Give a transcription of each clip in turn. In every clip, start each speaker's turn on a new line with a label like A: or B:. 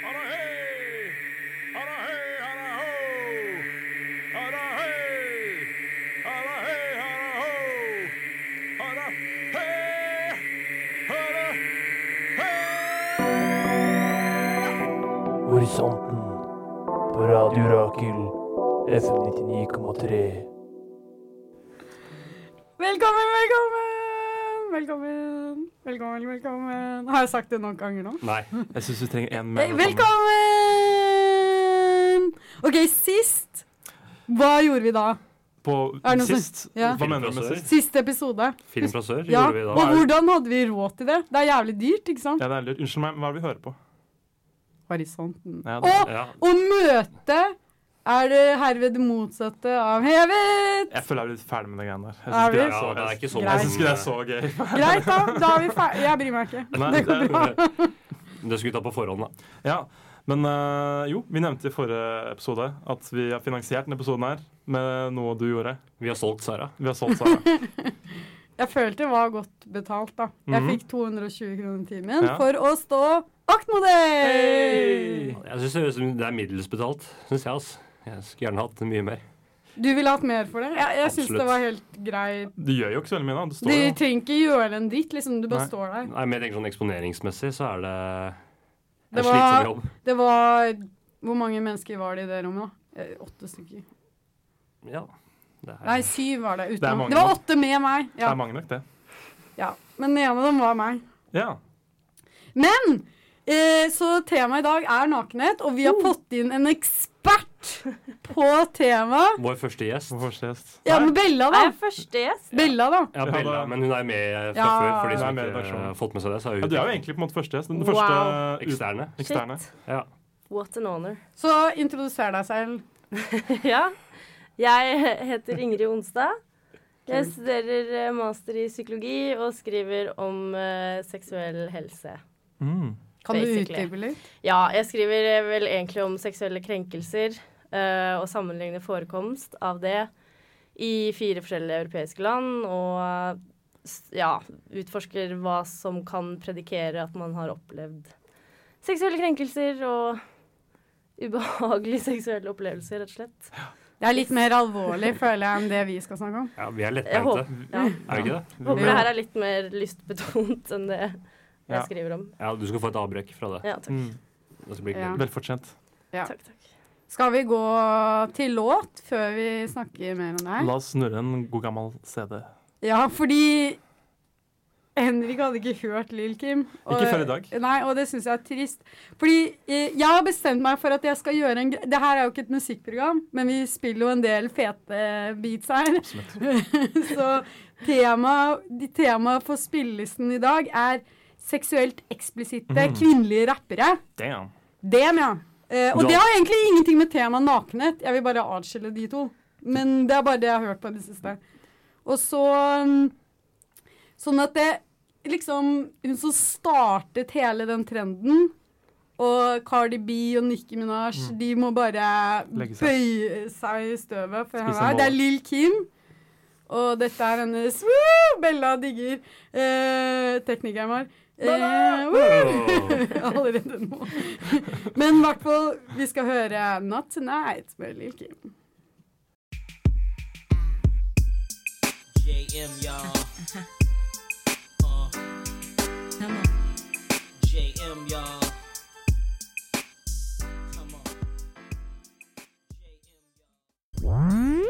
A: Harahei! Harahei, haraho! Harahei! Harahei, haraho! Harahei! Harahei!
B: Horisonten på Radio Rakel FM 99,3.
C: Velkommen, velkommen! Velkommen, velkommen, velkommen. Har jeg sagt det nok ganger nå?
D: Nei. Jeg syns du trenger en
C: Eh, Velkommen! OK, sist Hva gjorde vi da?
D: På
C: Er det noe som-
D: sist?
C: Ja.
D: Hva mener du med sist?
C: Siste episode.
D: Film fra sør
C: Ja,
D: gjorde vi
C: Og
D: da.
C: hvordan hadde vi råd til det? Det er jævlig dyrt, ikke sant?
D: Ja, det er lurt. Unnskyld meg, men hva er det vi hører på?
C: Horisonten.
D: Ja, det,
C: Og
D: ja.
C: å møte er det herved det motsatte av hevet.
D: Jeg føler jeg er litt ferdig med de greiene der. Jeg
C: Er
D: syns ikke,
C: vi?
D: så-
E: Ja, det er ikke så
D: jeg synes ikke det er så gøy.
C: Greit, da. Da er vi ferdige. Jeg bryr meg ikke.
D: Nei,
C: Det går bra.
E: Det skulle vi ta på forhånd, da.
D: Ja, Men øh, jo, vi nevnte i forrige episode at vi har finansiert denne episoden her med noe du gjorde.
E: Vi har solgt Sara.
D: Vi har solgt Sara.
C: Jeg følte det var godt betalt, da. Jeg
D: Mhm.
C: fikk 220 kroner timen
D: Ja.
C: for å stå aktmodell!
D: Hey!
E: Jeg synes det høres ut som det er middels betalt, syns jeg. ass. Jeg skulle gjerne hatt mye mer.
C: Du ville hatt mer for det? Jeg, jeg syns
E: Absolutt.
C: det var helt greit.
D: Du gjør jo ikke så veldig mye, da. Du
C: Du
D: står jo
C: trenger ikke gjøre en dritt, liksom. Du bare
D: Nei.
C: står der.
E: Nei, men jeg tenker sånn Eksponeringsmessig så er det en
C: Det var-
E: slitsom jobb.
C: Det var Hvor mange mennesker var det i det rommet, da? Eh, Åtte stykker.
E: Ja, det er,
C: Nei, syv var det.
D: Det er
C: Utenom.
D: mange
C: Det, var
D: nok.
C: åtte med meg.
D: Det
C: Ja,
D: er mange nok, det.
C: ja. Men den ene av dem var meg.
D: Ja.
C: Men eh, så temaet i dag er nakenhet, og vi har fått inn en ekspert på temaet.
E: Vår første gjest.
D: Vår første gjest.
C: Ja, men Bella, da.
F: Er jeg første gjest?
C: Bella, da.
E: Ja, Bella,
D: da.
E: men hun er med fra
C: Ja.
E: før. For de
D: Hun er
E: som
D: med i
E: ikke
D: redaksjonen.
E: har fått med seg det, så er hun
D: Ja, du er jo egentlig på en måte første gjest. Den
F: Wow.
D: første ut-
E: eksterne.
D: eksterne.
F: Shit.
E: Ja.
F: What an honor.
C: Så introduser deg selv.
F: ja. Jeg heter Ingrid Onstad. Jeg studerer eh, master i psykologi og skriver om eh, seksuell helse.
D: Mm.
C: Kan du
F: Basically.
C: utdype litt?
F: Ja, jeg skriver eh, vel egentlig om seksuelle krenkelser eh, og sammenligne forekomst av det i fire forskjellige europeiske land, og s- ja, utforsker hva som kan predikere at man har opplevd seksuelle krenkelser og ubehagelige seksuelle opplevelser, rett og slett.
C: Det er litt mer alvorlig, føler jeg, enn det vi skal snakke om.
E: ja, vi er
F: Jeg håper,
E: lettbeinte.
F: ja.
D: Mm.
E: Er vi ikke det?
F: håper det her er litt mer lystbetont enn det jeg
D: Ja.
F: skriver om.
E: Ja, du skal få et avbrekk fra det.
F: Ja, takk.
D: Mm.
E: Det skal bli
C: Ja.
E: hyggelig.
D: Velfortjent.
C: Ja.
F: takk, takk.
C: Skal vi gå til låt før vi snakker mer om det her?
D: La oss snurre en god gammel CD.
C: Ja, fordi Henrik hadde ikke hørt Lill Kim.
D: Ikke før i dag.
C: Nei, og det syns jeg er trist. Fordi eh, jeg har bestemt meg for at jeg skal gjøre en gre... Det her er jo ikke et musikkprogram, men vi spiller jo en del fete beats her. Så temaet tema for spillelisten i dag er seksuelt eksplisitte
D: Mhm.
C: kvinnelige rappere.
D: Damn.
C: Dem, ja. Eh, og
E: Du
C: det
E: har-
C: har egentlig ingenting med temaet nakenhet. Jeg vil bare adskille de to. Men det er bare det jeg har hørt på i det siste. Og så mm, Sånn at det liksom Hun som startet hele den trenden, og Cardi B og Nicki Minaj, de må bare
D: Mm. Legge seg.
C: bøye seg i støvet for
D: Spise
C: henne. her. Det er
D: mål.
C: Lill Kim. Og dette er hennes Woo! Bella digger. Eh, teknikeren vår. Eh, woo! Allerede nå. Men i hvert fall, vi skal høre Not Tonight med Lill Kim.
G: JM, y'all. Uh. JM, y'all. Come on. JM, y'all.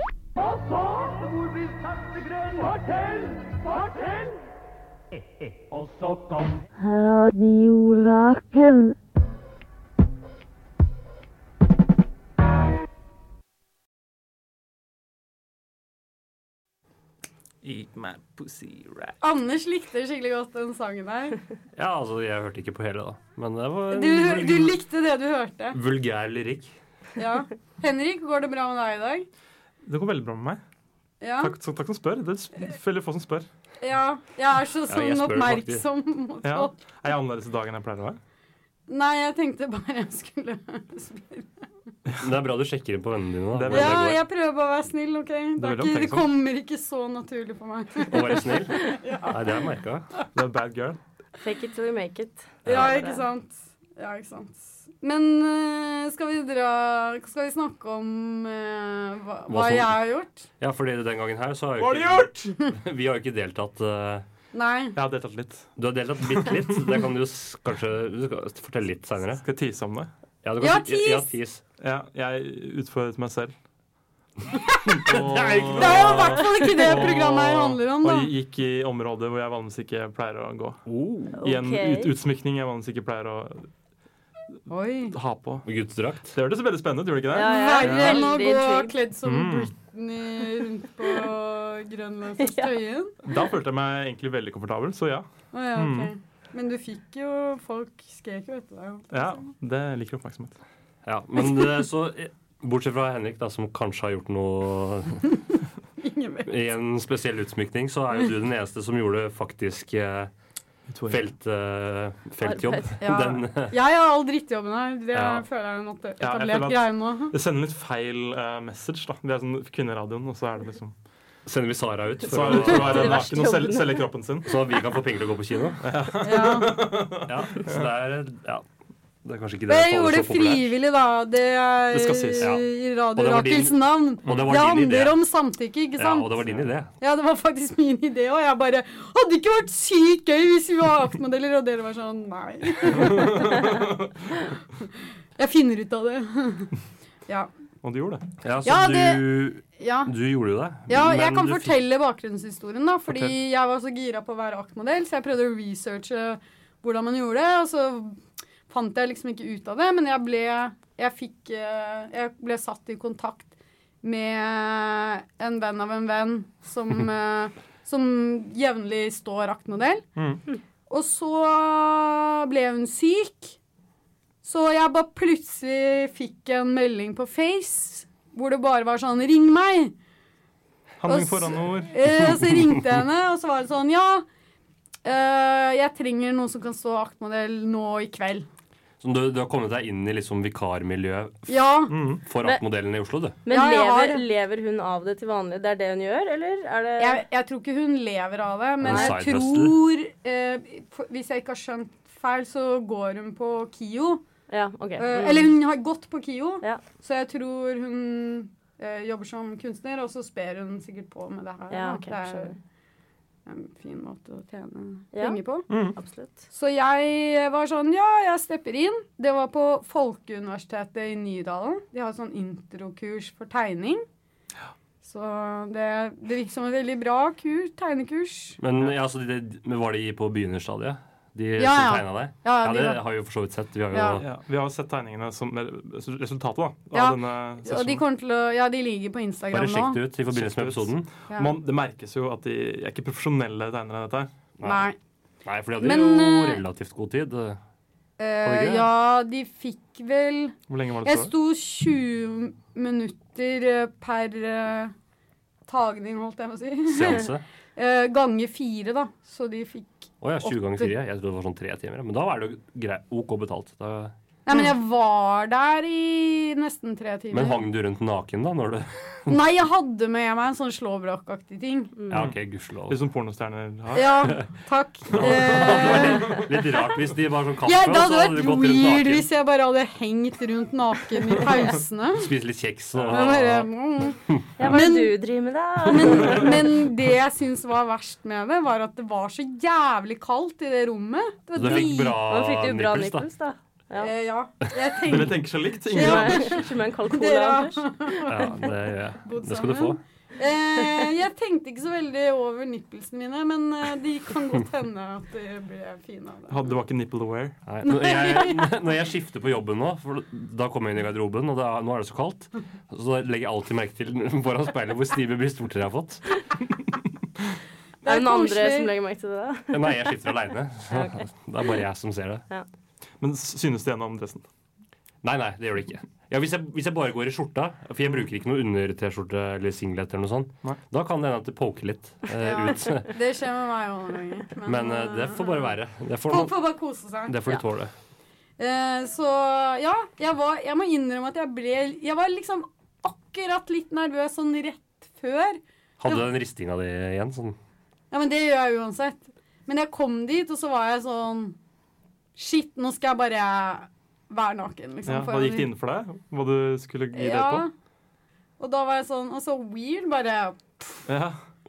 D: Eat my pussy right.
C: Anders likte skikkelig godt den sangen der.
E: Ja, altså, jeg hørte ikke på hele, da. Men det var en
C: Du,
E: vul-
C: du likte det du hørte.
E: vulgær lyrikk.
C: Ja. Henrik, går det bra med deg i dag?
D: Det går veldig bra med meg.
C: Ja.
D: Takk, så, takk som spør. Det er veldig få som spør.
C: ja. Jeg er så sånn
E: jeg spør faktisk.
C: oppmerksom mot
D: Ja.
C: folk.
D: Er jeg annerledes i dag enn jeg pleier å være?
C: Nei, jeg tenkte bare jeg skulle spørre.
E: Men det er bra du sjekker inn på vennene dine.
D: Det
E: da.
D: er
E: hvordan
C: Ja,
E: det går.
C: jeg prøver bare å være snill, OK? Det,
D: veldig
C: er ikke, det
D: omtenksom.
C: kommer ikke så naturlig for meg.
E: Å være snill? Nei, det har jeg merka.
D: Du er bad girl.
F: Fake it till you make it.
C: Ja, ikke sant? Ja, ikke sant. Men eh, skal vi dra Skal vi snakke om eh, hva,
E: Hva
C: hva
E: som-
C: jeg har gjort?
E: Ja, fordi den gangen her så har
D: Hva har du
E: jo
D: gjort?!
E: ikke Vi har jo ikke deltatt eh,
C: Nei.
D: Jeg har deltatt litt.
E: Du har deltatt bitte litt. Det kan du jo s- kanskje du skal fortelle litt seinere.
D: Skal jeg tease om det?
E: Ja, du
C: Ja,
E: kan-
C: tease!
E: ja, tease.
D: Ja, jeg utfordret meg selv.
E: Det er jo ikke
C: Det er jo i hvert fall ikke det programmet her handler om, da.
D: Og gikk i områder hvor jeg vanligvis ikke pleier å gå.
E: Oh.
D: I en ut
F: Ok.
D: utsmykning jeg vanligvis ikke pleier å
C: Oi.
D: ha på.
E: Guttdrakt.
D: Det hørtes veldig spennende ut, gjorde det ikke det?
F: Ja, jeg er
C: Verre enn å
F: veldig
C: gå
F: intrigued.
C: kledd som
D: Mm.
C: Britney rundt på Grønlandsstøyen.
D: Da følte jeg meg egentlig veldig komfortabel, så ja.
C: Å ja,
D: Mm.
C: ok. Men du fikk jo Folk skrek jo etter deg.
D: ja det liker oppmerksomhet.
E: Ja, men det, så eh, Bortsett fra Henrik, da, som kanskje har gjort noe
C: Ingen vet.
E: i en spesiell utsmykning, så er jo du den eneste som gjorde faktisk eh, felt, eh, feltjobb.
F: Arbeid,
C: ja.
E: Den, eh,
C: Jeg har all drittjobben her. Det
E: Ja.
C: føler jeg er en etablert
D: Ja, jeg føler at-
C: greie nå.
D: Det sender litt feil eh, message, da. Vi er sånn kvinneradioen, og så er det liksom
E: sender vi Sara ut
D: Så
E: for
D: er det for
E: å,
D: å være
F: Det er verste
D: naken og selge,
F: jobben.
D: selge kroppen sin.
E: så vi kan få penger til å gå på kino.
C: Ja.
E: Ja, så det er Ja. Det er kanskje ikke det
C: Men jeg
E: som faller
C: gjorde det
E: så populært.
C: frivillig, da. Det er
D: Det skal sies,
E: ja.
C: i
E: Og
C: Radio
E: det var din-
C: Rakels navn.
E: Og det
C: Det,
E: var din idé.
C: handler om samtykke, ikke
E: Ja,
C: sant?
E: og det var din idé.
C: Ja, det var faktisk min idé, og jeg bare Hadde ikke vært sykt gøy hvis vi var aktmodeller, og dere var sånn Nei. Jeg finner ut av det. Ja.
D: Og du gjorde det.
E: Ja, så
C: Ja,
E: du,
C: ja.
E: du gjorde jo det.
C: Ja, jeg
E: men
C: kan
E: du fikk-
C: fortelle bakgrunnshistorien, da. Fordi
D: Fortell.
C: jeg var så gira på å være aktmodell, så jeg prøvde å researche hvordan man gjorde det. Og så fant jeg liksom ikke ut av det, men jeg ble, jeg fikk, eh, jeg ble satt i kontakt med en venn av en venn som, eh, som jevnlig står aktmodell.
D: Mm.
C: Og så ble hun syk. Så jeg bare plutselig fikk en melding på Face hvor det bare var sånn 'ring meg'.
D: Handling
C: Og så-
D: foran ord.
C: Eh, så ringte jeg henne, og så var det sånn Ja, eh, jeg trenger noen som kan stå aktmodell nå i kveld.
E: Så du, du har kommet deg inn i liksom vikarmiljøet
C: Ja.
D: Mm.
E: for
F: Men-
E: aktmodellen i Oslo, du.
F: Men
C: Ja, jeg
F: lever,
C: har-
F: lever hun av det til vanlig? Det er det hun gjør, eller er det
C: Jeg, jeg tror ikke hun lever av det, men
E: En
C: jeg
E: side
C: tror eh, for- Hvis jeg ikke har skjønt feil, så går hun på KIO.
F: Ja, OK.
C: Eh,
F: Mm.
C: Eller hun har gått på KIO,
F: Ja.
C: så jeg tror hun eh, jobber som kunstner, og så sper hun sikkert på med det her.
F: Ja,
C: da.
F: ok,
C: det er
F: skjønner.
C: en fin måte å tjene
F: Ja.
C: penger på.
F: Absolutt.
C: Så jeg var sånn Ja, jeg stepper inn. Det var på Folkeuniversitetet i Nydalen. De har sånn introkurs for tegning. Så det, det virket som et veldig bra kur, tegnekurs.
E: Men, ja, så de, men var de på begynnerstadiet? De
C: Ja,
E: som
C: ja.
E: tegna deg?
C: Ja,
E: Ja,
C: de,
E: det
C: var-
E: har vi jo for så vidt sett. Vi har jo
C: Ja.
D: Ja, vi har sett tegningene som altså, resultatet da, av
C: Ja,
D: denne
C: og de
D: sesjonen.
C: kommer til å Ja, de ligger på Instagram
E: bare sjekket
C: nå.
E: ut i forbindelse med
D: Sjekk det ut.
E: episoden.
C: Ja.
D: Man, det merkes jo at de er ikke profesjonelle tegnere, dette her.
C: Nei.
E: Nei, for de hadde
C: Men,
E: jo
C: eh,
E: relativt god tid.
C: Eh,
E: ikke det?
C: ja, de fikk vel
D: Hvor lenge var det
C: Jeg
D: så?
C: sto 20 minutter eh, per eh, tagning, holdt jeg på å si.
E: Seanse.
C: Eh, Gange fire, da. Så de fikk
E: Å ja, 20 ganger
C: Åtte.
E: 4. Jeg trodde det var sånn tre timer. ja. Men da er det jo grei, OK betalt. Da,
C: Nei, men jeg var der i nesten tre timer.
E: men hang du rundt naken da? Når du,
C: Nei, jeg hadde med meg en sånn slåbrokaktig ting.
F: Mm.
E: ja, OK, gudskjelov.
D: Litt som pornostjerner
E: Ah.
D: har.
C: Ja, takk. Eh,
E: Litt rart hvis de var sånn kaffe,
C: ja,
E: og
C: det hadde
E: så hadde
C: vært
E: du gått rundt
C: weird liksom.
E: naken.
C: hvis jeg bare hadde hengt rundt naken i pausene.
E: Spist litt kjeks
C: Jeg
E: og
C: Bare, mm.
F: Ja, hva er
C: Men-
F: det du driver med, da?
C: men, men det jeg syns var verst med det, var at det var så jævlig kaldt i det rommet. Det
E: Du
C: var
E: fikk bra
F: Nå fikk du bra
E: nipples, da.
F: nipples, da. Ja.
C: Eh, ja. Jeg
D: Dere
C: tenkte
D: tenker så likt. Ingen
C: Ja.
D: andre.
F: Ikke med en kald
C: Dere
F: cola,
C: har
E: Ja,
F: Anders.
E: det, gjør jeg.
C: bodd
E: det skal du få.
C: sammen. Eh, jeg tenkte ikke så veldig over nipplesene mine, men eh, de kan godt hende at de ble fine av det.
D: Hadde- Det var ikke nipple aware.
E: Nei, når, jeg, når jeg skifter på jobben nå, for da kommer jeg inn i garderoben, og det er, nå er det så kaldt, så da legger jeg alltid merke til foran speilet hvor stive brystvorter jeg har fått.
F: Det
C: Det
F: er
C: er
F: noen andre
C: koselig.
F: som legger merke til det, da.
E: Nei, jeg skifter aleine. Det er bare jeg som ser det.
D: Men s- synes det gjennom dressen.
E: Nei, nei, det gjør det ikke. Ja, hvis, jeg, hvis jeg bare går i skjorta, for jeg bruker ikke noe under-T-skjorte eller singlet eller noe sånt,
D: Nei.
E: da kan det hende at det poker litt eh,
C: Ja.
E: ut.
C: Det skjer med meg òg noen ganger.
E: Men eh, det får bare være. Det får,
C: eh, Folk
E: man,
C: får bare kose seg.
E: det får du tåle.
C: Eh, så ja, jeg, var, jeg må innrømme at jeg ble Jeg var liksom akkurat litt nervøs sånn rett før.
E: Hadde du den ristinga di igjen? Sånn.
C: Ja, men det gjør jeg uansett. Men jeg kom dit, og så var jeg sånn Shit, nå skal jeg bare vær naken, liksom.
D: Ja,
C: foran
D: da gikk det
C: de-
D: inn for deg hva du skulle gi det
C: Ja.
D: på?
C: Og da var jeg sånn Og så weird, bare
D: Ja.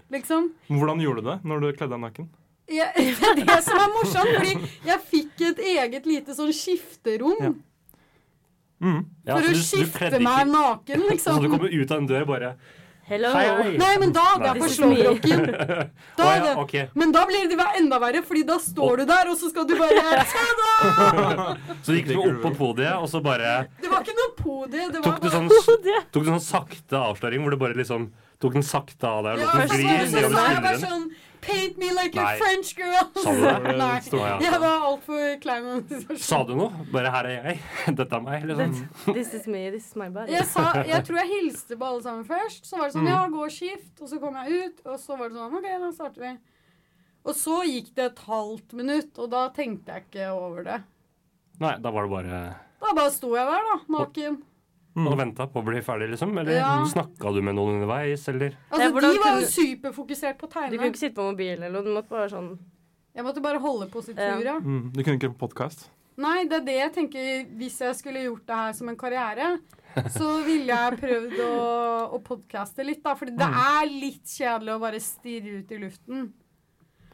C: liksom.
D: Hvordan gjorde du det når du kledde deg naken?
C: Jeg, det er det som er morsomt, fordi jeg fikk et eget lite sånn skifterom
D: Ja. Mm.
E: Ja, så
C: for å
E: du- du
C: skifte
E: kledde ikke-
C: meg naken,
E: Så
C: liksom.
E: du kommer ut av en dør bare
F: Hello.
E: Hei, hei.
C: Nei, men da hadde jeg
E: Nei.
C: på slåbroken.
E: Å,
C: Da hadde
E: ja,
C: jeg
E: ok.
C: Men da blir det enda verre, fordi da står du der, og så skal du bare
E: Så du gikk du opp på podiet, og så bare
C: Det var ikke noe podie, det var
E: tok du sånn,
F: det.
E: tok du sånn sakte avsløring hvor du bare liksom tok den sakte av deg og lot
C: Ja, så
E: den
C: var
E: gli
C: det så
E: nedover
C: sa jeg bare
E: skulderen.
C: sånn Paint me like
E: Nei.
C: a French girl.
E: Sa du det?
C: Nei.
D: Stort-
E: Å, ja.
C: Jeg var altfor klein. med den situasjonen.
E: Sa du noe? Bare 'her er jeg'. Dette er meg. Liksom.
F: This is me, this is my body.
C: Jeg, sa, jeg tror jeg hilste på alle sammen først. Så var det sånn
F: Mm.
C: Ja, gå og skift. Og så kom jeg ut, og så var det sånn OK, da starter vi. Og så gikk det et halvt minutt, og da tenkte jeg ikke over det.
E: Nei, da var det bare
C: Da bare sto jeg der, da, naken.
E: Og venta på å bli ferdig, liksom? Eller
C: Ja.
E: snakka du med noen underveis, eller?
C: Altså,
F: hvordan
C: de var jo
F: kunne-
C: superfokusert på å
F: Du kunne
C: tegne.
F: ikke sitte på mobilen eller noe. Du måtte bare være sånn
C: Jeg måtte bare holde på sitt tur, ja.
D: Mm. Du kunne ikke på podkast?
C: Nei, det er det jeg tenker. Hvis jeg skulle gjort det her som en karriere, så ville jeg prøvd å, å podcaste litt, da. For det er litt kjedelig å bare stirre ut i luften.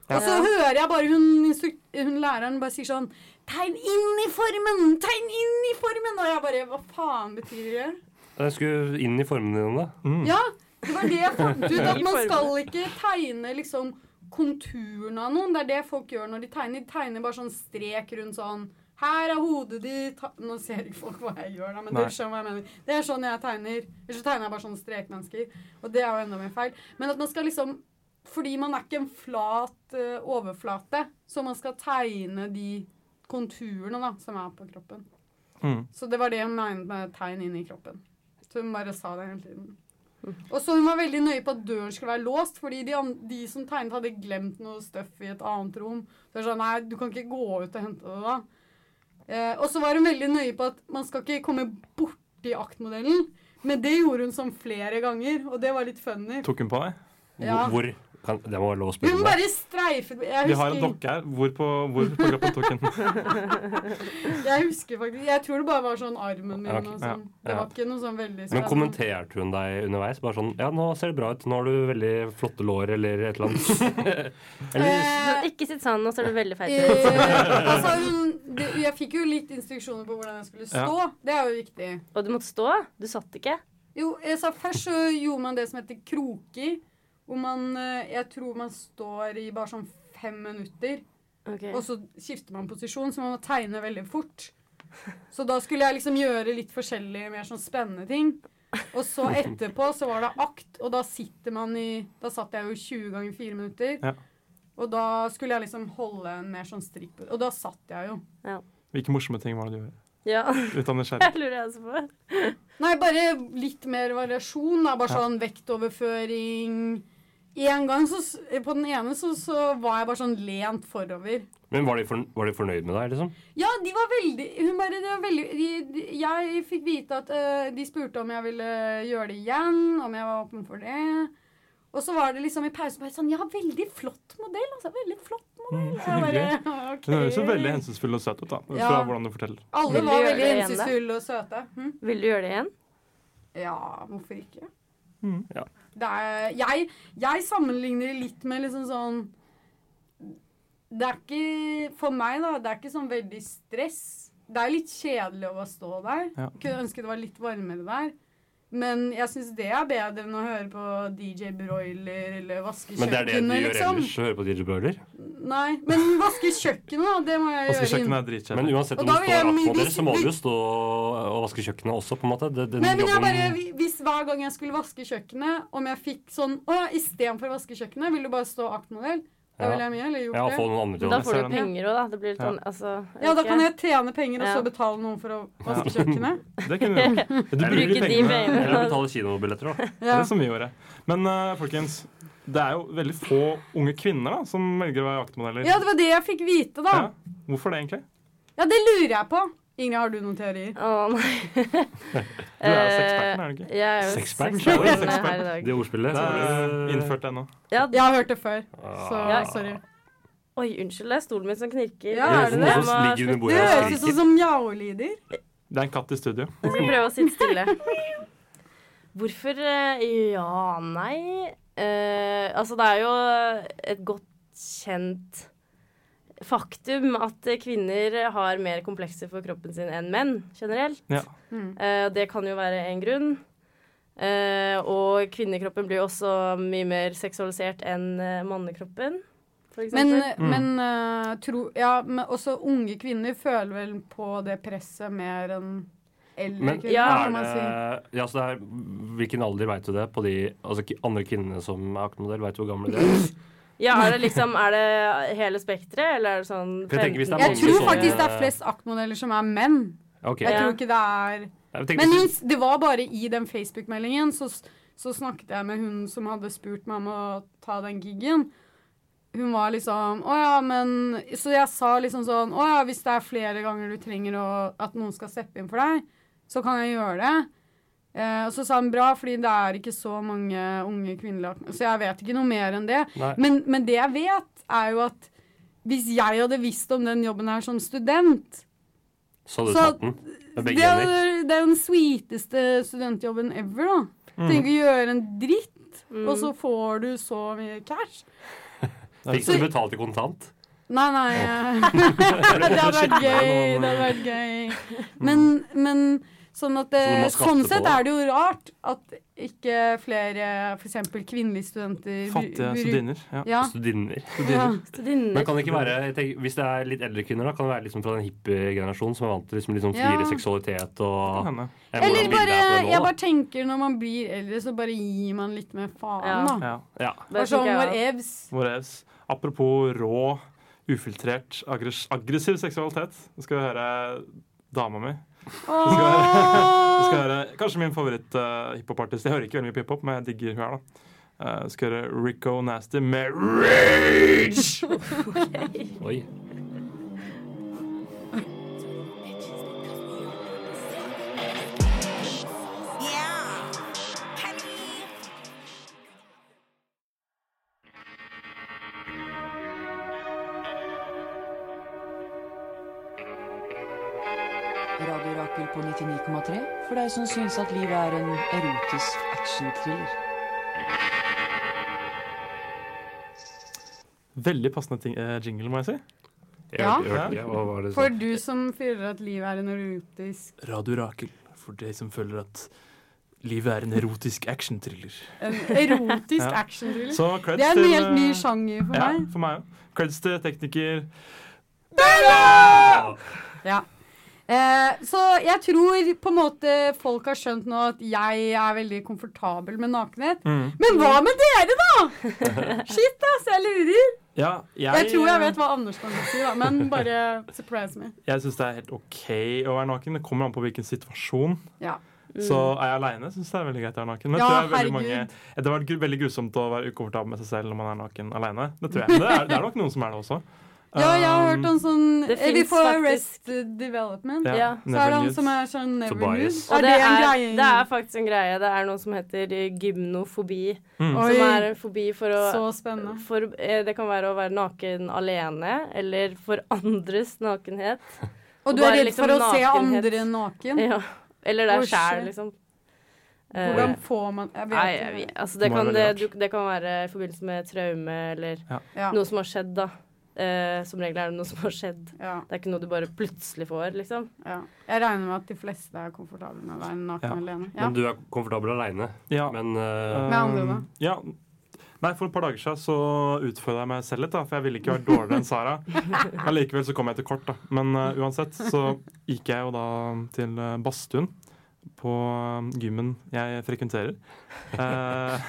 C: Og så
F: Ja.
C: hører jeg bare hun, instruk- hun læreren bare sier sånn Tegn inn i formen! Tegn inn i formen! Og jeg bare Hva faen betyr det?
E: Jeg skulle inn i formene dine, da.
D: Mm.
C: Ja, det var det jeg fant ut. At
F: I
C: man
F: formen.
C: skal ikke tegne liksom konturen av noen. Det er det folk gjør når de tegner. De tegner bare sånn strek rundt sånn. Her er hodet ditt ha- Nå ser ikke folk hva jeg gjør, da, men
D: Nei.
C: du skjønner hva jeg mener. Det er sånn jeg tegner. Ellers så tegner jeg bare sånn strekmennesker. Og det er jo enda mer feil. Men at man skal liksom Fordi man er ikke en flat eh, overflate, så man skal tegne de konturene da, som er på kroppen.
D: Mm.
C: Så det var det hun mente med tegn inn i kroppen. Så hun bare sa det hele tiden. Og så hun var veldig nøye på at døren skulle være låst, fordi de, an- de som tegnet, hadde glemt noe støff i et annet rom. Så jeg sa nei, du kan ikke gå ut og hente det da. Eh, og så var hun veldig nøye på at man skal ikke komme borti aktmodellen. Men det gjorde hun sånn flere ganger, og det var litt funny.
D: Tok hun på deg?
C: Ja.
E: Hvor, hvor kan, Det må være lov å
C: Hun
E: spørre deg.
C: bare streifet Jeg
D: Vi har en
C: husker,
D: dokke her. Hvor på, hvor på kroppen tok hun?
C: jeg husker faktisk Jeg tror det bare var sånn armen min
E: Ja, ok.
C: og
D: Ja,
C: sånn. Det
E: ja.
C: var ikke noe sånn veldig
E: Men kommenterte hun deg underveis? Bare sånn 'Ja, nå ser det bra ut. Nå har du veldig flotte lår', eller et eller annet. eller
C: Eh,
F: Sånn, Ikke sitt sånn, nå ser du veldig feit ut.
C: Eh, altså, hun, det, jeg fikk jo litt instruksjoner på hvordan jeg skulle stå. Det er jo viktig.
F: Og du måtte stå. Du satt ikke.
C: Jo, jeg sa Først så gjorde man det som heter kroker. Hvor man eh, Jeg tror man står i bare sånn fem minutter. Og så skifter man posisjon, så man må tegne veldig fort. Så da skulle jeg liksom gjøre litt forskjellige, mer sånn spennende ting. Og så etterpå så var det akt, og da sitter man i Da satt jeg jo 20 ganger 4 minutter.
D: Ja.
C: Og da skulle jeg liksom holde en mer sånn strikk på Og da satt jeg jo.
D: Hvilke morsomme ting var det du gjorde?
F: Ja,
D: Ut av nysgjerrighet.
F: jeg lurer jeg også på.
C: Nei, bare litt mer variasjon. Da. Bare
D: Ja.
C: sånn vektoverføring. En gang så, s- eh, På den ene så, så var jeg bare sånn lent forover.
E: men var de, for, var de fornøyd med deg, liksom?
C: Ja, de var veldig Hun bare de var veldig de, de, Jeg fikk vite at eh, de spurte om jeg ville gjøre det igjen, om jeg var åpen for det. Og så var det liksom i pausen bare sånn Ja, veldig flott modell, altså. Veldig flott modell.
D: Mm, så
C: Jeg
D: hyggelig.
C: bare, ok.
D: Hun høres jo veldig hensynsfull og søt ut, da. Fra
C: Ja.
D: hvordan du forteller.
C: Alle
F: Vil du
C: var
F: gjøre
C: veldig
F: det igjen, da?
C: hensynsfulle og søte. Hm?
F: Vil du gjøre det igjen?
C: Ja, hvorfor ikke?
D: Mm.
E: Ja.
C: Det er, jeg, jeg sammenligner det litt med liksom sånn Det er ikke For meg, da, det er ikke sånn veldig stress. Det er litt kjedelig å bare stå der.
D: Ja.
C: Kunne ønske det var litt varmere der. Men jeg syns det er bedre enn å høre på DJ Broiler eller vaske
E: Men det er det du
C: kjøkkenet,
E: gjør
C: liksom.
E: ellers, å høre på DJ Broiler?
C: Nei, men vaske kjøkkenet, da, det må jeg gjøre.
D: Vaskekjøkkenet
C: inn.
D: er
E: Men
D: dritkjedelig.
E: uansett
C: Og
E: om du
C: da vil jeg-
E: står attpå
C: vi-
E: dere, så må du jo stå og vaske kjøkkenet også, på en måte. Det, den
C: Nei, men jeg
E: jobben-
C: bare, Hvis hver gang jeg skulle vaske kjøkkenet, om jeg fikk sånn Å ja, istedenfor å vaske kjøkkenet, vil du bare stå aktmodell? Da
E: Ja.
C: ville jeg mye heller gjort
E: ja,
C: det.
E: få noen andre til
F: Men
E: å
F: da får
D: jeg
F: du
D: ser den.
F: penger òg, da. Det blir litt
D: Ja.
F: sånn, altså
C: Ja, da
F: ikke-
C: kan jeg tjene penger og så
F: Ja.
C: betale noen for å vaske kjøkkenet.
D: Det kunne du gjort. Du bruker
F: Bruke de
D: pengene.
F: pengene.
E: Eller betale kinobilletter, da.
D: Det
C: Ja.
D: er det som vi gjorde. Men eh, folkens, det er jo veldig få unge kvinner da, som velger å være jaktmodeller.
C: ja, det var det jeg fikk vite, da.
D: Ja. Hvorfor det, egentlig?
C: Ja, det lurer jeg på. Ingrid, har du noen teorier?
F: Å, nei.
D: Du er jo
F: Eh,
D: sexperten, er du ikke?
F: Jeg er jo
E: Sexpert?
F: sexperten
D: Sexpert.
F: her i dag.
E: Det ordspillet.
D: Det
E: så
D: er
E: det-
D: innført ennå.
F: Ja,
C: Jeg har hørt det før, så
E: Ah.
C: sorry.
F: Oi, unnskyld, det er stolen min som knirker.
C: Ja, er det det?
F: Jeg
E: Noen som
F: må-
E: ligger under
C: Det
E: bordet og
C: høres ut som
E: skriker.
C: som Yao-lyder.
D: Det er en katt i studio.
F: Jeg skal prøve å sitte stille. Hvorfor eh, Ja, nei eh, Altså, det er jo et godt kjent faktum at kvinner har mer komplekser for kroppen sin enn menn generelt.
D: Ja.
C: Mm.
F: Eh, og det kan jo være en grunn. Eh, og kvinnekroppen blir jo også mye mer seksualisert enn eh, mannekroppen, for
C: Men,
F: eksempel.
C: men
E: Mm.
C: eh, tro, ja, men også unge kvinner føler vel på det presset mer enn eldre
E: Men
C: kvinner,
F: Ja.
C: kan
E: er
C: man si.
E: det, ja, så det er, hvilken alder veit du det på de altså, ki- andre kvinnene som er aktemodell? Veit du hvor gamle de er?
F: ja, er det liksom Er det hele spekteret, eller er det sånn
E: For jeg tenker hvis det er
C: Jeg
F: 15 til-
E: mange
C: tror
E: som-
C: faktisk det er flest aktmodeller som er menn.
E: Ok.
C: Jeg
F: Ja.
C: tror ikke det er
E: Jeg tenker
C: Men
E: hvis-
C: hun, det var bare i den Facebook-meldingen, så, s- så snakket jeg med hun som hadde spurt meg om å ta den giggen. Hun var liksom Å ja, men Så jeg sa liksom sånn Å ja, hvis det er flere ganger du trenger å, at noen skal steppe inn for deg, så kan jeg gjøre det. Eh, og så sa hun bra, fordi det er ikke så mange unge kvinnelige ak- Så jeg vet ikke noe mer enn det.
E: Nei.
C: Men, men det jeg vet, er jo at hvis jeg hadde visst om den jobben her som student,
E: Så hadde du
C: så-
E: tatt den? Med
C: det
E: begge
C: er,
E: hender?
C: det er den sweeteste studentjobben ever,
E: Mm.
C: da.
D: Mm.
C: Tenk å gjøre en dritt, og så får du så mye cash.
E: Fikk du betalt i kontant?
C: Nei, nei eh, Det hadde vært gøy. Det hadde vært gøy. Men, men sånn at det,
E: Mm. Så du må skatte
C: Sånn
E: på
C: sett
E: det?
C: er det jo rart at ikke flere f.eks. kvinnelige studenter bru-
D: Fattige
C: bru-
D: studiner. Ja.
C: Ja.
E: Studinner.
C: ja.
E: Men kan det ikke være, jeg tenker, Hvis det er litt eldre kvinner, da, kan det være liksom fra den hippie-generasjonen som er vant til liksom, litt sånn friere
C: Ja.
E: seksualitet og
D: Henne.
E: Jeg må
C: Eller
E: bilde
C: bare
E: her på nå,
C: Jeg
E: da.
C: bare tenker når man blir eldre, så bare gir man litt mer
F: Ja.
C: faen, da.
D: Ja.
E: ja.
C: Bare sånn whatevs.
D: Whatevs. Apropos rå, ufiltrert, aggres aggressiv seksualitet. Nå skal vi høre dama mi. Vi skal høre, vi skal høre kanskje min favoritt-hiphopartist. jeg hører ikke veldig mye på hiphop, men jeg digger hun her, da. Eh, Vi skal høre Rico Nasty med Rage!
E: Oi.
H: Radio Rakel på 99,3 for deg som syns at livet er en erotisk actionthriller.
D: Veldig passende ting, eh, jingle, må jeg si.
E: Jeg
C: Ja.
E: hørte- jeg hørte ikke. Hva var det
C: For
E: sånn?
C: du som føler at livet er en erotisk
B: Radio Rakel, for deg som føler at livet er en erotisk actionthriller.
C: En erotisk
D: Ja.
C: actionthriller.
D: Så creds
C: Det er en
D: til,
C: helt ny
D: eh,
C: sjanger for
D: Ja,
C: meg.
D: for meg òg. Creds til tekniker.
C: Eh, så jeg tror på en måte folk har skjønt nå at jeg er veldig komfortabel med nakenhet.
D: Mm.
C: Men hva med dere, da?! Shit, ass, jeg lurer.
D: Ja, jeg, eh,
C: Jeg tror jeg vet hva Anders kan si, da, men bare surprise me.
D: Jeg syns det er helt OK å være naken. Det kommer an på hvilken situasjon.
C: Ja.
D: Så er jeg aleine, syns det er veldig greit å være naken.
C: Mm.
D: Men
C: Ja,
D: jeg tror det, er veldig mange,
C: herregud.
D: det har vært gru- veldig grusomt å være ukomfortabel med seg selv når man er naken aleine. Det tror jeg. Men det er, det er nok noen som er det også.
C: Ja, jeg har hørt
D: Um,
C: om sånn
F: Det
C: eh, Vi
F: finnes
C: får
F: faktisk-
C: Arrested Development.
D: ja,
F: Ja.
C: Så er det
D: never
C: han
D: nudes.
C: som er sånn never nude.
E: Tobias.
F: Og
C: Er det en greie?
F: det er faktisk en greie. Det er noe som heter eh, gymnofobi.
C: Oi,
F: Som er en fobi for å
C: så spennende.
F: for, eh, Det kan være å være naken alene, eller for andres nakenhet.
C: Og du
F: Bare
C: er redd
F: liksom
C: for å se
F: nakenhet.
C: andre naken?
F: Ja. Eller deg
C: Oi,
F: sjæl,
C: shit.
F: liksom. Eh,
C: Hvordan får man Jeg
F: Nei,
C: vet
F: jeg vet-
C: ikke.
F: altså det,
D: Det må
F: kan,
D: være
F: det,
D: veldig
F: du, det kan være i forbindelse med traume eller
C: Ja,
F: noe som har skjedd, da. Eh, som regel er det noe som har skjedd.
C: ja,
F: Det er ikke noe du bare plutselig får, liksom.
C: ja. Jeg regner med at de fleste er komfortable med å være naken
D: Ja.
C: alene. Ja.
E: Men du er komfortabel aleine.
D: Ja.
E: Men eh,
D: Um,
C: Med andre, da.
D: Ja. Nei, For et par dager siden så utfordra jeg meg selv litt, da, for jeg ville ikke vært dårligere enn Sara. Men likevel så kom jeg til kort, da. Men eh, uansett så gikk jeg jo da til eh, badstuen på eh, gymmen jeg frekventerer. Eh,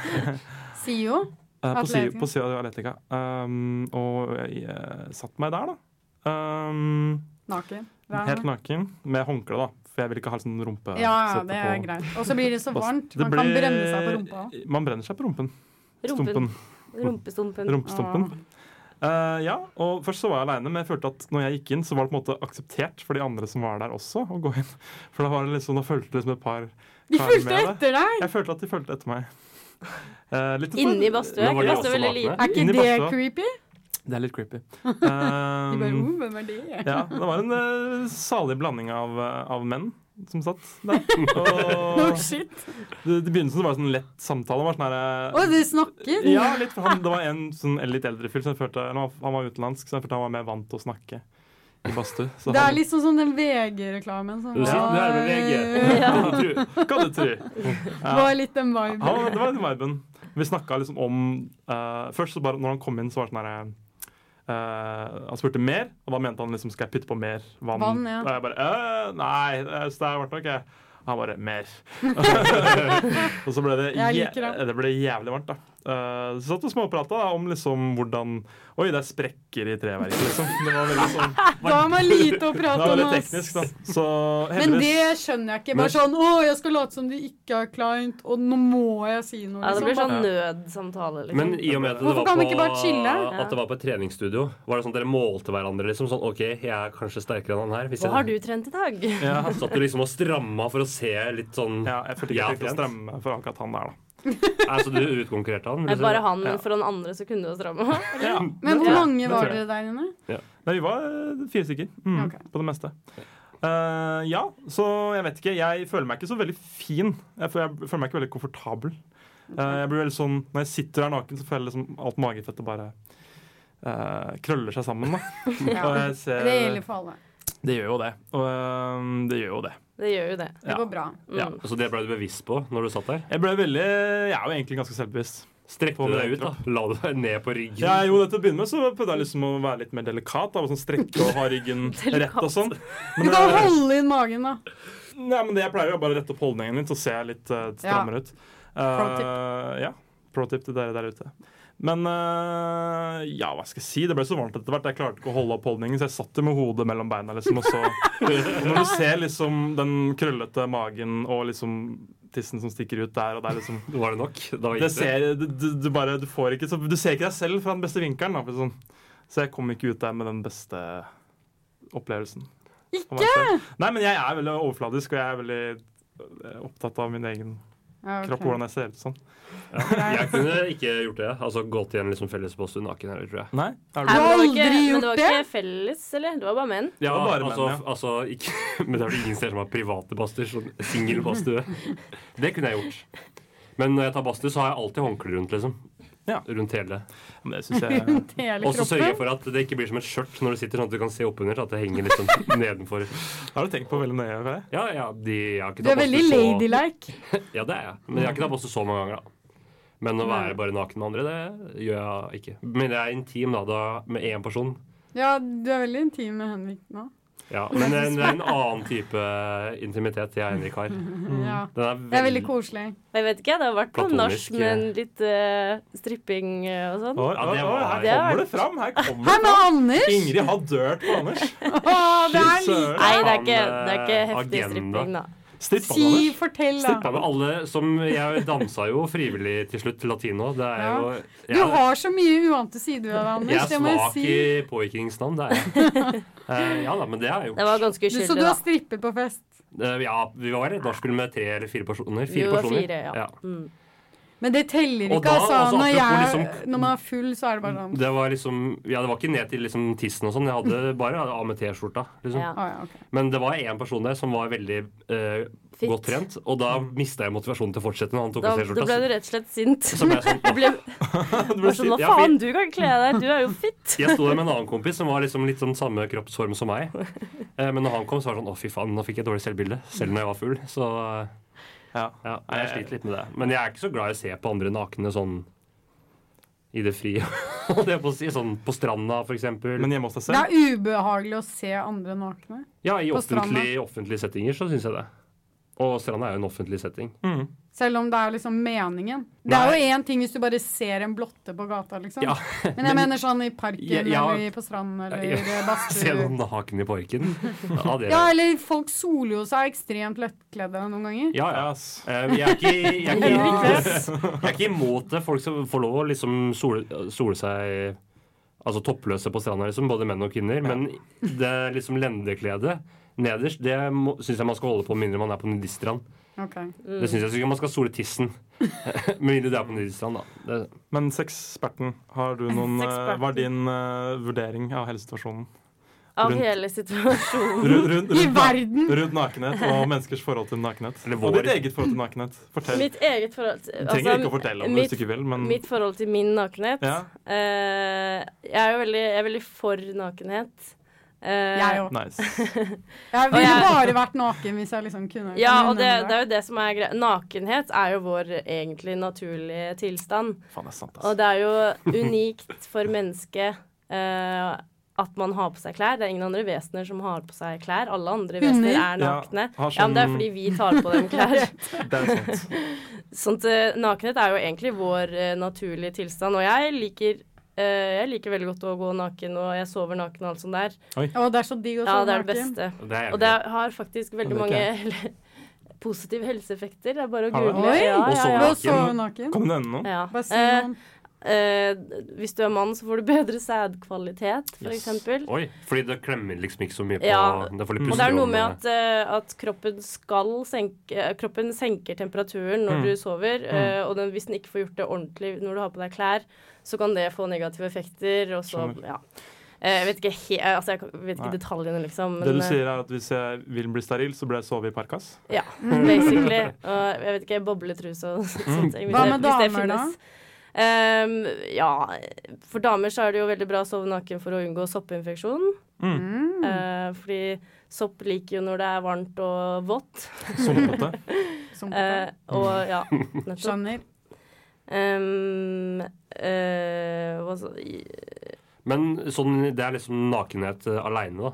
C: SIO?
D: Eh, på Siv-
C: Atletica.
D: På Siv Atletica. Um, og jeg eh, satt meg der, da. Um,
C: Naken. Regner
D: helt
C: med.
D: naken. Med håndkle, da. For jeg vil ikke ha sånn rumpe.
C: Ja, ja,
D: sette
C: det er
D: på-
C: greit. Og så blir det så
D: Bas-
C: varmt.
D: Det
C: Man kan
D: blir-
C: brenne seg på rumpa òg.
D: Man brenner seg på rumpen.
F: Rumpen.
D: Stumpen.
F: Rumpestumpen.
D: Rumpestumpen.
C: Ah.
D: Eh, ja, og først så var jeg aleine, men jeg følte at når jeg gikk inn, så var det på en måte akseptert for de andre som var der også, å gå inn. For da var det liksom, da fulgte liksom et par
C: De
D: karer
C: fulgte
D: med det.
C: etter deg!
D: Jeg følte at de fulgte etter meg. Uh,
F: Inni badstue.
E: Men var de
F: Badstue er
E: også
F: veldig
E: nakne?
F: liten.
C: Er ikke
D: Inni
C: det
D: badstua.
C: creepy?
D: Det er litt creepy. Um,
C: De bare, oh, hvem er det?
D: Ja, det var en eh, salig blanding av, eh, av menn som satt der.
C: Oh,
D: Og
C: shit.
D: det, det begynnelsen var det sånn lett samtale. Var sånn
C: Å,
D: her, eh,
C: de snakker?
D: ja, litt, for han, det var en sånn litt eldre fyr som jeg følte Han var, han var utenlandsk, så jeg følte han var mer vant til å snakke i badstue. så
C: Det
D: han-
C: er litt sånn som den VG-reklamen. Som
E: Du sitter
C: var-
E: nærme VG.
D: Kan du
F: Ja.
D: tro? Kan du tro?
C: Det var litt den viben.
D: Ja, det var den viben. Vi snakka liksom om eh, Først så bare når han kom inn, så var det sånn herre Han spurte mer, og da mente han liksom skal jeg putte på mer vann.
C: Vann, ja.
D: Og jeg bare «Øh, Nei, det er det er varmt nok, jeg. Han bare mer. og så ble det,
C: Jeg
D: jæ-
C: liker det.
D: det ble jævlig varmt, da. Eh, så satt vi og småprata da, om liksom hvordan Oi, det er sprekker i treverket, liksom. Det var veldig sånn
C: Da har man lite å
D: Det
C: prate
D: var
C: om.
D: veldig
C: ass.
D: teknisk, da. Så
C: Men
D: heldigvis-
C: det skjønner jeg ikke. Bare sånn 'Å, jeg skal late som du ikke har kleint, og nå må jeg si noe',
F: Ja, det blir
C: liksom.
F: sånn nødsamtale, liksom.
E: Men i og med at det,
C: Hvorfor
E: var
C: kan
E: på,
C: vi ikke bare chille?
E: at det var på et treningsstudio, var det sånn at dere målte hverandre? liksom sånn, OK, jeg er kanskje sterkere enn han her. Hvis
F: Hva har du
E: jeg
F: trent i dag?
D: ja.
E: satt du liksom og stramma for å se litt sånn
D: ja, jeg følte ikke
E: Ja,
D: jeg trengte å
E: trent.
D: strømme for akkurat han der, da.
E: Altså, du utkonkurrerte han? vil
F: Nei,
E: du si?
F: bare han,
D: Ja.
F: men for noen andre så kunne du jo stramme.
D: Ja.
C: Men hvor
F: Ja,
C: mange
D: det
C: var
D: tror
C: dere der inne?
D: Nei, vi var eh, fire stykker mm,
C: Ok.
D: på det meste. Eh, ja, så jeg vet ikke. Jeg føler meg ikke så veldig fin. Jeg føler, jeg føler meg ikke veldig komfortabel. Eh, jeg blir veldig sånn, Når jeg sitter her naken, så føler jeg liksom alt magefettet bare eh, krøller seg sammen. Da. Og
C: Ja.
D: jeg eh, ser,
C: Det gjelder for alle.
D: det gjør jo det. Og eh, det gjør jo det.
F: Det gjør jo det.
C: Det går bra.
F: Mm.
D: Ja.
E: Så det ble du bevisst på når du satt der?
D: Jeg ble veldig Jeg er jo egentlig ganske selvbevisst.
E: Strekte
D: På
E: du
D: min
E: deg ut, da? La du deg ned på ryggen?
D: Ja, jo, det Til å begynne med så prøvde jeg liksom å være litt mer delikat. Da, og sånn strekke og ha ryggen rett og sånn.
C: Du kan holde inn magen, da.
D: Nei, men det jeg pleier jo bare å rette opp holdningen min, så ser jeg litt eh, strammere ut.
C: Pro tip.
D: Eh, ja. Pro tip til dere der ute. Men eh, ja, hva skal jeg si? Det ble så varmt etter hvert. Jeg klarte ikke å holde opp holdningen, så jeg satt jo med hodet mellom beina. liksom, Og så og når du ser liksom den krøllete magen og liksom tissen som stikker ut der, og det er liksom
E: Var det nok? Da gikk
D: det ser, du, du, du bare, du får ikke, så, du ser ikke deg selv fra den beste vinkelen. Da, for sånn. Så jeg kom ikke ut der med den beste opplevelsen. for meg selv. Nei, men jeg er veldig overfladisk, og jeg er veldig eh, opptatt av min egen
C: Ja, ok.
D: kropp og hvordan jeg ser ut sånn.
E: Jeg kunne ikke gjort det. Altså gått i en liksom fellespost naken her, tror jeg.
D: Nei, er
C: Jeg
D: du
F: Nei, men, det var ikke,
C: aldri
F: men det var
C: gjort
F: ikke felles, eller? Det var bare menn.
E: Ja,
D: Det var bare
E: altså,
D: menn, ja.
E: altså ikke, Men det er vel ingen steder som har private badstuer. Sånn singel badstue. Det kunne jeg gjort. Men når jeg tar badstue, så har jeg alltid håndkle rundt, liksom.
D: Ja.
E: Rundt hele.
D: Men det synes jeg
C: Hele
E: Og så sørger jeg
C: kroppen.
E: for at det ikke blir som et skjørt når du sitter, sånn at du kan se oppunder. At det henger litt sånn nedenfor.
D: Har du tenkt på veldig nøye? Fred?
E: Ja, ja, de, jeg har ikke
C: Du er
E: tatt
C: veldig
E: badstue så-
C: ladylike.
E: Ja, det er jeg. Men jeg har ikke tatt badstue så mange ganger, da. Men å være bare naken med andre, det gjør jeg ikke. Men jeg er intim da, da med én person.
C: Ja, du er veldig intim med Henrik nå.
E: Ja, men det er en- det er en annen type intimitet jeg og Henrik har. Den
C: Ja.
E: er
C: Det er veldig koselig.
F: Jeg vet ikke, det har vært på
E: Platonisk,
F: norsk med litt eh, stripping eh, og sånn.
D: Å,
E: Ja, det
D: å, å, her
E: var-
D: kommer det fram! Her kommer det
C: Her med
D: fram.
C: Anders!
D: Ingrid har dørt på Anders.
C: Å, det er
D: Fy søren.
C: like
F: Nei, det er ikke,
E: Han,
F: det er ikke
E: eh,
F: heftig
E: agenda.
F: stripping, da.
D: Stripp han,
C: Si,
D: Anders.
C: fortell,
E: Ja,
C: da.
E: men alle som Jeg dansa jo frivillig til slutt til latino. Det er jo jeg,
C: Du har så mye uante sider ved deg,
E: jeg
C: Anders.
E: er
C: Det må jeg
E: svak
C: si.
E: i påvirkningsnavn, det er jeg. Eh, ja da, men det har jeg
F: Det
E: gjort.
F: var ganske
C: Du, så
F: uskyldig,
C: du
F: da.
C: har strippet på fest?
E: Eh, ja, vi var i et nachspiel med tre eller fire personer.
F: Vi
E: Fire
F: var
E: personer.
F: fire, ja. Mm.
C: Men det teller
E: Og
C: ikke,
E: da,
C: altså.
E: altså,
C: når, jeg,
E: apropos liksom-
C: når man er full, så er det bare sånn.
E: Det var liksom Ja, det var ikke ned til liksom tissen og sånn. Jeg hadde bare av med T-skjorta. Liksom.
F: Ja.
C: Å, ja, ok.
E: Men det var én person der som var veldig eh,
F: Fit.
E: godt trent, og da mista jeg motivasjonen til å fortsette når han tok
F: Da,
E: av
F: da ble du
E: T-skjorta.
F: rett og slett sint.
E: Så- så ble jeg sånn,
F: Du ble,
E: Du
F: var sånn, Hva
E: ja, for-
F: faen, du kan kle deg, du er jo fit.
E: Jeg sto der med en annen kompis som var liksom litt sånn samme kroppsform som meg. Eh, Men når han kom, så var det sånn å fy faen, nå fikk jeg dårlig selvbilde. Selv når jeg var full. Så eh,
D: Ja.
E: ja, jeg sliter litt med det. Men jeg er ikke så glad i å se på andre nakne sånn i det frie. det er på, å si, sånn på stranda, for eksempel.
D: Men hjemme hos deg
C: Det
D: selv?
C: er ubehagelig å se andre nakne.
E: ja, i
C: på
E: offentlig, offentlige settinger så syns jeg det. Og stranda er jo en offentlig setting.
C: Selv om det er liksom meningen. Det er
E: Nei.
C: jo én ting hvis du bare ser en blotte på gata, liksom.
E: Ja,
C: Men jeg mener sånn i parken
E: Ja, ja.
C: eller i- på stranden eller
E: Ja.
C: i
E: Se
C: badstue.
E: noen naken i parken. Ja, det
C: Ja, eller folk soler jo seg ekstremt lettkledde noen ganger.
E: ja,
D: Ja,
E: ja.
D: ass.
E: Eh, Jeg er ikke, jeg er ikke
C: Ja.
E: Jeg er ikke imot det. Folk som får lov å liksom sole, sole seg Altså toppløse på stranda, liksom. Både menn og kvinner. Men det liksom lendeklede nederst, det syns jeg man skal holde på med mindre man er på nudiststrand.
C: Ok.
E: Det syns jeg ikke man skal sole tissen. med mindre det er på nudiststrand, da. Det,
D: Men sexperten, har du noen eh, Hva
F: Sexperten.
D: er din eh, vurdering av helsesituasjonen?
F: Av
D: rundt-
F: hele situasjonen.
D: Rundt, rundt,
C: I
D: rundt, na-
C: verden!
D: rundt nakenhet og menneskers forhold til nakenhet.
E: Eller
D: Og
E: vår.
D: ditt eget forhold til nakenhet. Fortell.
F: Mitt eget forhold til
D: Du
F: altså,
D: trenger ikke å fortelle om det
F: mitt,
D: hvis du ikke vil, men
F: mitt forhold til min nakenhet.
D: Mm. ja,
F: Eh, jeg er jo veldig, jeg er veldig for nakenhet. Eh,
C: Jeg òg.
D: nice.
C: Jeg
F: Og
C: ville
F: jeg-
C: bare vært naken hvis jeg liksom kunne.
F: Ja,
C: kan
F: og det,
C: innrømme
F: det er jo det som er greia. Nakenhet er jo vår egentlig naturlige tilstand.
D: Faen, det er sant,
F: Og
D: ass.
F: det er jo unikt for mennesket eh, at man har på seg klær. Det er ingen andre vesener som har på seg klær. Alle andre vesener
C: Hunder?
F: er nakne.
D: Ja, har
F: Ja, men det er
D: sånn-
F: fordi vi tar på dem klær.
D: Det er sant.
F: Sånn at eh, nakenhet er jo egentlig vår eh, naturlige tilstand. Og jeg liker, eh, jeg liker veldig godt å gå naken, og jeg sover naken og alt sånt der.
C: Å, det er så digg å
F: Ja,
C: sove
F: det er det
C: naken.
F: beste.
E: det er
F: Og det har faktisk
D: Ja,
F: veldig
D: det
F: mange
D: er
F: positive helseeffekter. Det er bare å
D: Har det?
F: google.
C: Oi!
F: Ja,
E: Og
F: ja,
E: sove
C: Ved
F: ja.
C: å sove naken.
D: Kan du nevne noe?
F: ja.
C: Bare si
F: Eh,
C: noe.
F: eh, hvis du er mann, så får du bedre sædkvalitet, for
E: Yes.
F: eksempel.
E: Oi, fordi det klemmer liksom ikke så mye på Da
F: Ja,
E: får de
F: Og
E: puste
F: det er noe
E: om,
F: med
E: eh,
F: at, eh, at kroppen skal senke eh, Kroppen senker temperaturen når
D: Mm.
F: du sover, eh, og den, hvis den ikke får gjort det ordentlig når du har på deg klær, så kan det få negative effekter, og så
D: Skjønner.
F: Ja. Eh, Jeg vet ikke, he eh, altså, jeg kan- vet ikke
D: Nei.
F: detaljene, liksom, men
D: Det du
F: eh,
D: sier er at hvis jeg vil bli steril, så burde jeg sove i parkas?
F: ja, eh,
D: Mm.
F: basically. Og jeg vet ikke, bobletruse og
C: Hva
F: sånt. hvis det-
C: med
F: hvis det
C: damer, da?
F: finnes. Ehm, ja, for damer så er det jo veldig bra å sove naken for å unngå soppinfeksjon.
D: Mm,
C: Mm.
F: Eh, fordi sopp liker jo når det er varmt og vått.
D: Sumpete?
C: Som
F: Eh, og ja, nettopp.
C: Skjønner.
F: Ehm, eh, hva så, i-
E: Men sånn, det er liksom nakenhet uh, aleine, da.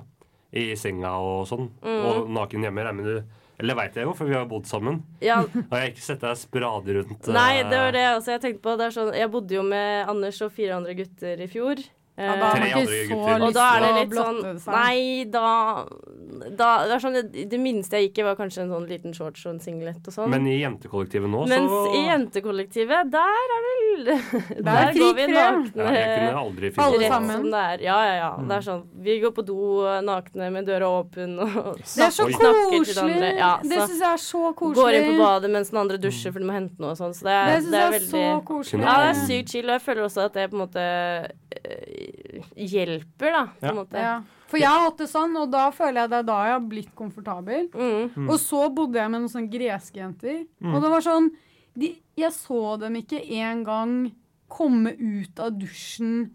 E: I senga og sånn.
F: Mm.
E: Og naken hjemme. regner med du Eller det veit jeg jo, for vi har jo bodd sammen.
F: ja,
E: Og jeg har ikke sett deg sprade rundt eh,
F: nei, det var det altså, jeg tenkte på. Det er sånn, jeg bodde jo med Anders og fire andre gutter i fjor.
C: Ja, da har
F: Eh,
E: Tre
C: man ikke
E: andre
C: så
E: gutter.
F: og
C: lyst
F: da er
C: til
F: det
C: å
F: litt sånn
C: blotte seg.
F: Nei, da, da det, er sånn, det, det minste jeg gikk i, var kanskje en sånn liten shorts og en singlet og sånn.
E: Men i jentekollektivet nå,
F: Mens
E: så
F: i jentekollektivet, der er det
C: er
F: Der, går
C: fritt
F: vi
C: frem.
E: ja, Jeg kunne
F: nakne.
E: aldri
C: Alle
E: finne
F: Rett
C: sammen.
F: som det er. Ja, ja, ja. Det er
C: Mm.
F: sånn, vi går på do eh, nakne med døra åpen og
C: Det er så
E: Oi.
F: Snakker til
C: koselig!
F: andre. Ja,
C: Det
F: så-
C: syns jeg er så koselig. Mm.
F: Går inn på badet mens den andre dusjer for de må hente noe og sånn. Så det
C: Det
F: er,
C: syns
F: det er
C: jeg er
F: veldig
C: så koselig.
F: Ja, det er sykt chill, og jeg føler også at det på en måte eh, hjelper, da. På
D: Ja.
F: en måte.
C: Ja. For jeg har hatt det sånn, og da føler jeg det er da jeg har blitt komfortabel.
F: Mm.
C: Og så bodde jeg med noen sånne greske jenter. Og det var sånn de, Jeg så dem ikke engang komme ut av dusjen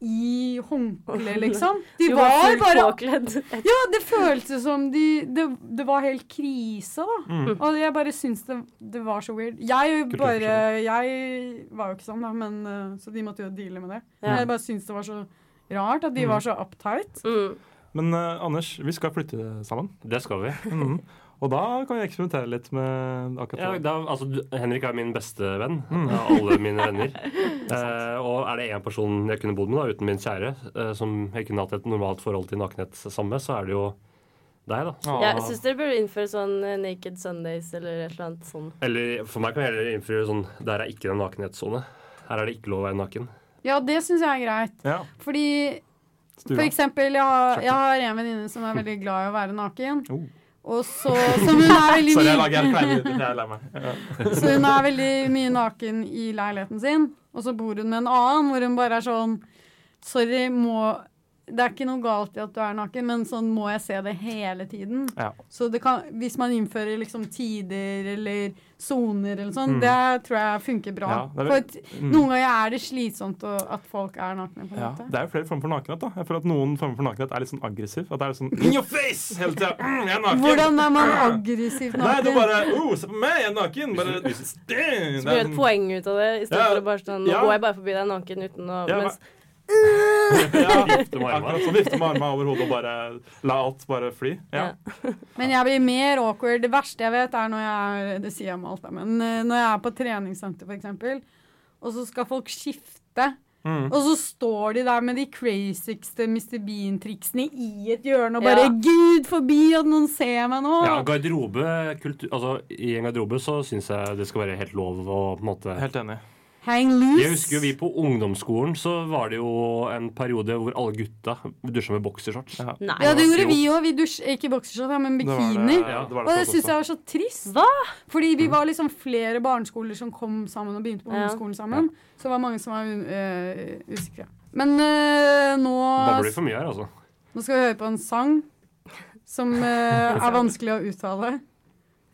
C: i håndkle, liksom. De
F: Du
C: var
F: fullt
C: bare
F: påkledd.
C: Ja, det føltes som de det, det var helt krise, da.
D: Mm.
C: Og jeg bare syns det, det var så weird. Jeg bare Jeg var jo ikke sånn, da, men eh, Så de måtte jo deale med det.
F: Ja.
C: Jeg bare syns det var så rart at de var så uptight.
F: Mm.
D: Men eh, Anders, vi skal flytte sammen.
E: Det skal vi.
D: Mhm. Og da kan vi eksperimentere litt med
E: Ja,
D: akkurat det.
E: da, altså, du, Henrik er min beste venn av alle mine venner. Eh, og er det én person jeg kunne bodd med da, uten min kjære, eh, som jeg kunne hatt et normalt forhold til nakenhet sammen med, så er det jo deg, da.
D: Ah,
F: Ja, jeg syns dere burde innføre sånn eh, Naked Sundays eller et eller annet sånn.
E: Eller for meg kan jeg heller innføre sånn Der er ikke en nakenhetssone. Her er det ikke lov å være naken.
C: Ja, det syns jeg er greit.
D: ja,
C: Fordi For
D: stua.
C: eksempel, jeg har, jeg har en venninne som er veldig glad i å være naken.
D: Oh.
C: Og så, som hun er veldig
D: Sorry, jeg
C: mye,
D: lager helt kleine lyder. Jeg er lei meg. Ja.
C: så hun er veldig mye naken i leiligheten sin. Og så bor hun med en annen, hvor hun bare er sånn Sorry, må Det er ikke noe galt i at du er naken, men sånn må jeg se det hele tiden.
D: Ja.
C: Så det kan, hvis man innfører liksom tider eller soner eller sånn, det tror jeg funker bra.
D: Mm. Ja, det er
C: For
D: vel-
C: at, noen ganger er det slitsomt å, at folk er nakne, på en
D: Mm. Ja.
C: måte.
D: Det er jo flere former for nakenhet. da Jeg føler at Noen former for nakenhet er litt sånn aggressiv. At det er sånn In your face! Hele tida. Mm, jeg er naken!
C: Hvordan er man aggressivt naken?
D: Nei, det er bare oh, Se på meg, jeg er naken! Bare Damn!
F: Så
D: Det
F: blir
D: er
F: det et
D: sånn-
F: poeng ut av det, istedenfor
D: Ja,
F: for å bare sånn Nå
D: ja.
F: går jeg bare forbi deg naken uten å
D: Ja,
F: mens,
D: Ja,
E: Det var
D: akkurat
E: armen.
D: sånn. Vifte med armene over hodet og bare la alt bare fly. Ja.
F: Ja.
C: Men jeg blir mer awkward. Det verste jeg vet, er når jeg er Det sier jeg med alt, da, men eh, når jeg er på treningssenter, f.eks., og så skal folk skifte. Og så står de der med de crazykste Mr. Bean-triksene i et hjørne og bare
F: Ja.
C: Gud forbi at noen ser meg nå!
E: Ja, garderobe, kultur, altså, I en garderobe så syns jeg det skal være helt lov å på en måte
D: Helt enig.
C: Hang loose.
E: Jeg husker jo vi på ungdomsskolen, så var det jo en periode hvor alle gutta dusja med boksershorts.
D: Ja.
F: Nei.
C: Ja, det gjorde vi òg. Vi dusj, ikke boksershorts, ja, men
D: Det var det-
C: bikini.
D: ja, det var
C: Og det
D: for oss
C: syns
D: også.
C: jeg var så trist.
F: Hva?
C: Fordi vi var liksom flere barneskoler som kom sammen og begynte på
F: Ja.
C: ungdomsskolen sammen. Så det var mange som var øh, usikre. Men øh, nå,
E: Babler vi for mye her, altså.
C: nå skal vi høre på en sang som øh, er vanskelig å uttale.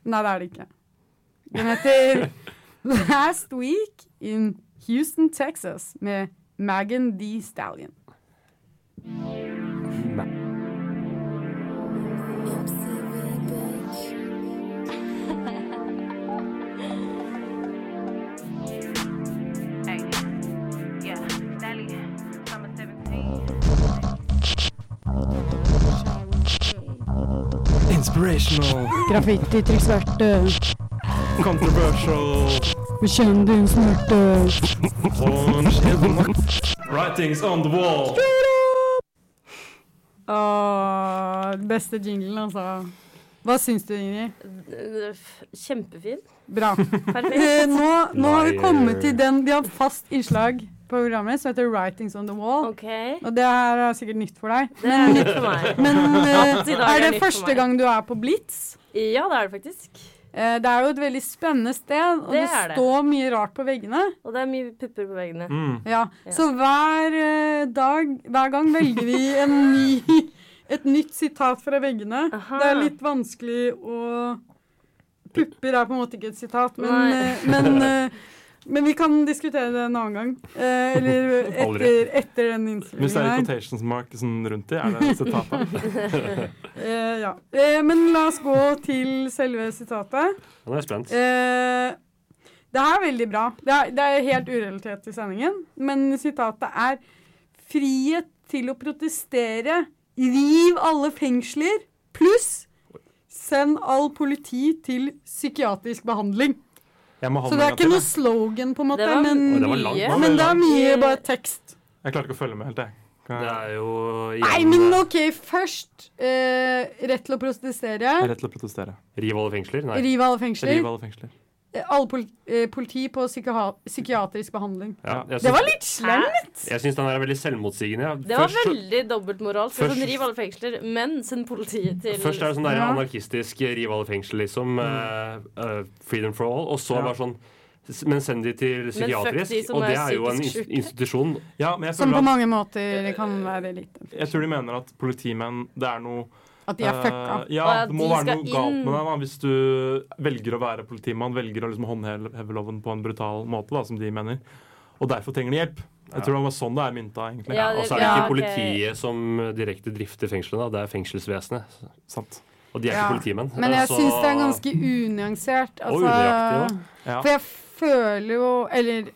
C: Nei, det er det ikke. Den heter Last Week in Houston, Texas med Megan D. Stallion.
D: Inspirational,
C: Graffiti, trykksverte,
D: controversial,
C: bekjente, unsmurte
D: orange in the night. Writings on the wall.
C: Åh, beste jinglen, altså. Hva syns du, Ingrid?
F: Kjempefin.
C: Bra. Eh,
F: Perfekt.
C: nå, nå har vi
E: Nei,
C: kommet
E: eh.
C: til den De har fast innslag på programmet som heter 'Writings on the Wall'.
F: OK.
C: Og det her er sikkert nytt for deg.
F: Det er nytt for meg.
C: Men eh,
F: At i dag
C: er
F: er
C: det
F: nytt for
C: første
F: meg.
C: gang du er på Blitz?
F: Ja, det er det faktisk.
C: Eh, det er jo et veldig spennende sted, og
F: Det
C: det,
F: er det.
C: står mye rart på veggene.
F: Og det er mye pupper på veggene.
D: Mm.
C: Ja,
F: Ja.
C: Så hver eh, dag, hver gang velger vi en ny, et nytt sitat fra veggene.
F: Aha.
C: Det er litt vanskelig å Pupper er på en måte ikke et sitat, men,
F: Nei.
C: eh, men, eh, men vi kan diskutere det en annen gang. Eh, eller etter,
E: Aldri.
C: etter den
D: Hvis det er
C: innstillingen her.
D: quotations mark sånn rundt i, er det sitatet.
C: Eh, ja. eh, men la oss gå til selve sitatet.
E: Nå er jeg spent.
C: Eh, det her er veldig bra. Det er, det er helt urelatert til sendingen, men sitatet er Frihet til å protestere. Riv alle fengsler. Pluss send all politi til psykiatrisk behandling.
D: Jeg må ha
C: Så
D: den
C: det
D: en
C: er
D: gang
C: ikke
D: til.
C: noe
D: jeg.
C: slogan, på en måte,
F: Det var,
E: Oi,
C: men,
E: det var
F: mye.
E: langt.
D: var
C: men det er mye
F: mye-
C: bare tekst.
D: Jeg klarer ikke å følge med helt, jeg. Kan
E: Det
D: jeg.
E: er jo igjen,
C: Nei, men OK, først eh, rett til å protestere.
D: Jeg er rett til å protestere.
E: Riv alle fengsler? Nei.
C: Riv alle fengsler.
D: Riv alle fengsler.
C: Eh, All pol eh, politi på psykiha- psykiatrisk behandling.
E: Ja, jeg
C: Det
E: syns-
C: var litt slemt!
E: Jeg syns den er veldig selvmotsigende. Ja.
F: Det var
E: Først så-
F: veldig dobbeltmoralsk.
E: Først-
F: Sånn, riv alle fengsler, men send politiet til
E: Først er det sånn der
C: Ja.
E: anarkistisk eh, riv alle fengsel, liksom. eh, eh, freedom for all. Og så
D: Ja.
E: bare sånn s- Men send de til
F: fuck
E: psykiatrisk.
F: de som
E: og
F: er
E: det er jo en
F: psykisk
E: ins-
F: syke.
E: institusjon.
D: Ja, men jeg,
C: Som på
D: føler at,
C: mange måter kan være litt
D: jeg tror de mener at politimenn, det er noe
C: At de er fucka.
D: Eh, ja,
F: Og at
D: det må
F: de
D: være
F: skal
D: noe galt
F: inn.
D: med deg da, hvis du velger å være politimann, velger å liksom håndheve loven på en brutal måte, da, som de mener. Og derfor trenger de hjelp.
E: Ja.
D: Jeg tror det var sånn det er mynta, egentlig.
F: Ja,
E: Og så er det
F: ja,
E: ikke
F: ok.
E: politiet som direkte drifter fengslene, da. det er fengselsvesenet.
D: Sant.
E: Og de er
C: Ja.
E: ikke politimenn.
C: Men jeg
D: altså-
E: Så-
C: syns det er ganske unyansert.
E: Og
C: Altså,
E: unøyaktig
D: Ja.
C: For jeg føler jo Eller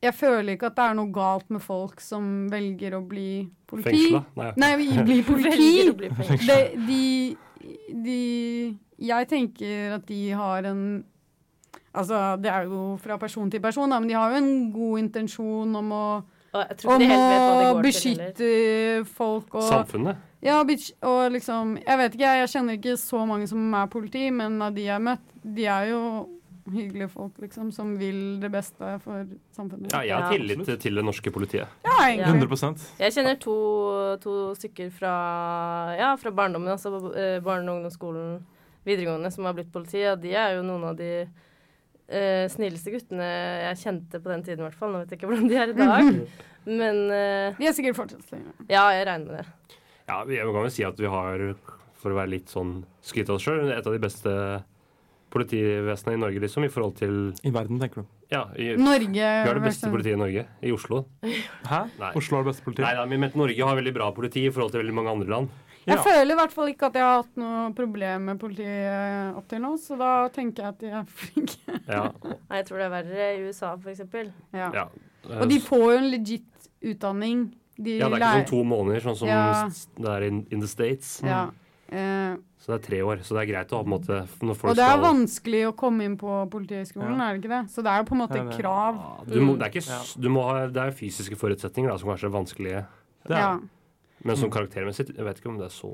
C: jeg føler ikke at det er noe galt med folk som velger å bli politi.
E: Fengsla. Nei.
C: Nei, vi- bli politi.
F: Velger å bli fengslet.
C: De, de, de Jeg tenker at de har en Altså, det er jo fra person til person, da, men de har jo en god intensjon om å,
F: Og jeg tror ikke
C: om
F: de helt vet hva det
C: å
F: går til heller.
C: beskytte folk og
E: Samfunnet.
C: ja, bitch, og liksom Jeg vet ikke, jeg, jeg kjenner ikke så mange som er politi, men av de jeg har møtt, de er jo hyggelige folk, liksom, som vil det beste for samfunnet.
E: Ja, jeg har
F: Ja.
E: tillit til det norske politiet.
C: Ja, egentlig.
D: 100
F: Jeg kjenner to, to stykker fra, ja, fra barndommen, altså eh, barne- og ungdomsskolen, videregående, som har blitt politi, og de er jo noen av de eh, snilleste guttene jeg kjente på den tiden, i hvert fall. Nå vet jeg ikke hvordan de er i dag, men eh,
C: De er sikkert fortsatt slemme.
F: ja, jeg regner med det.
E: Ja, vi- jeg kan vel si at vi har, for å være litt sånn skryt av oss sjøl, et av de beste politivesenene i Norge, liksom, i forhold til
D: I verden, tenker du.
E: Ja, i, vi
C: Norge
E: har det beste
C: versus-
E: politiet i Norge, i Oslo.
D: Hæ?
E: Nei.
D: Oslo har det
E: Nei,
D: beste politiet.
E: nei, men Norge har veldig bra politi i forhold til veldig mange andre land.
C: Jeg
D: Ja.
C: føler i hvert fall ikke at jeg har hatt noe problem med politiet opp til nå, så da tenker jeg at de er flinke.
E: Ja,
F: Nei, jeg tror det er verre i USA, for eksempel.
C: Ja.
E: ja.
C: Og de får jo en legit utdanning. De
E: ja, det er ikke
C: lærer-
E: sånn to Mm. måneder, sånn som
C: Ja.
E: s- det er in, in the States.
C: Ja. Eh,
E: Så det er tre år. Så det er greit å ha på en måte når folk
C: og det er
E: skal
C: vanskelig å komme inn på Politihøgskolen,
D: Ja.
C: er det ikke det? Så det er jo på en måte
D: Det er det.
C: krav.
E: Ja, du må, det, er ikke, s- du må ha, det er fysiske forutsetninger da, som kanskje er vanskelige.
D: Det er
C: Ja.
D: det.
E: Men
C: Mm.
E: som karaktermessig jeg vet ikke om det er så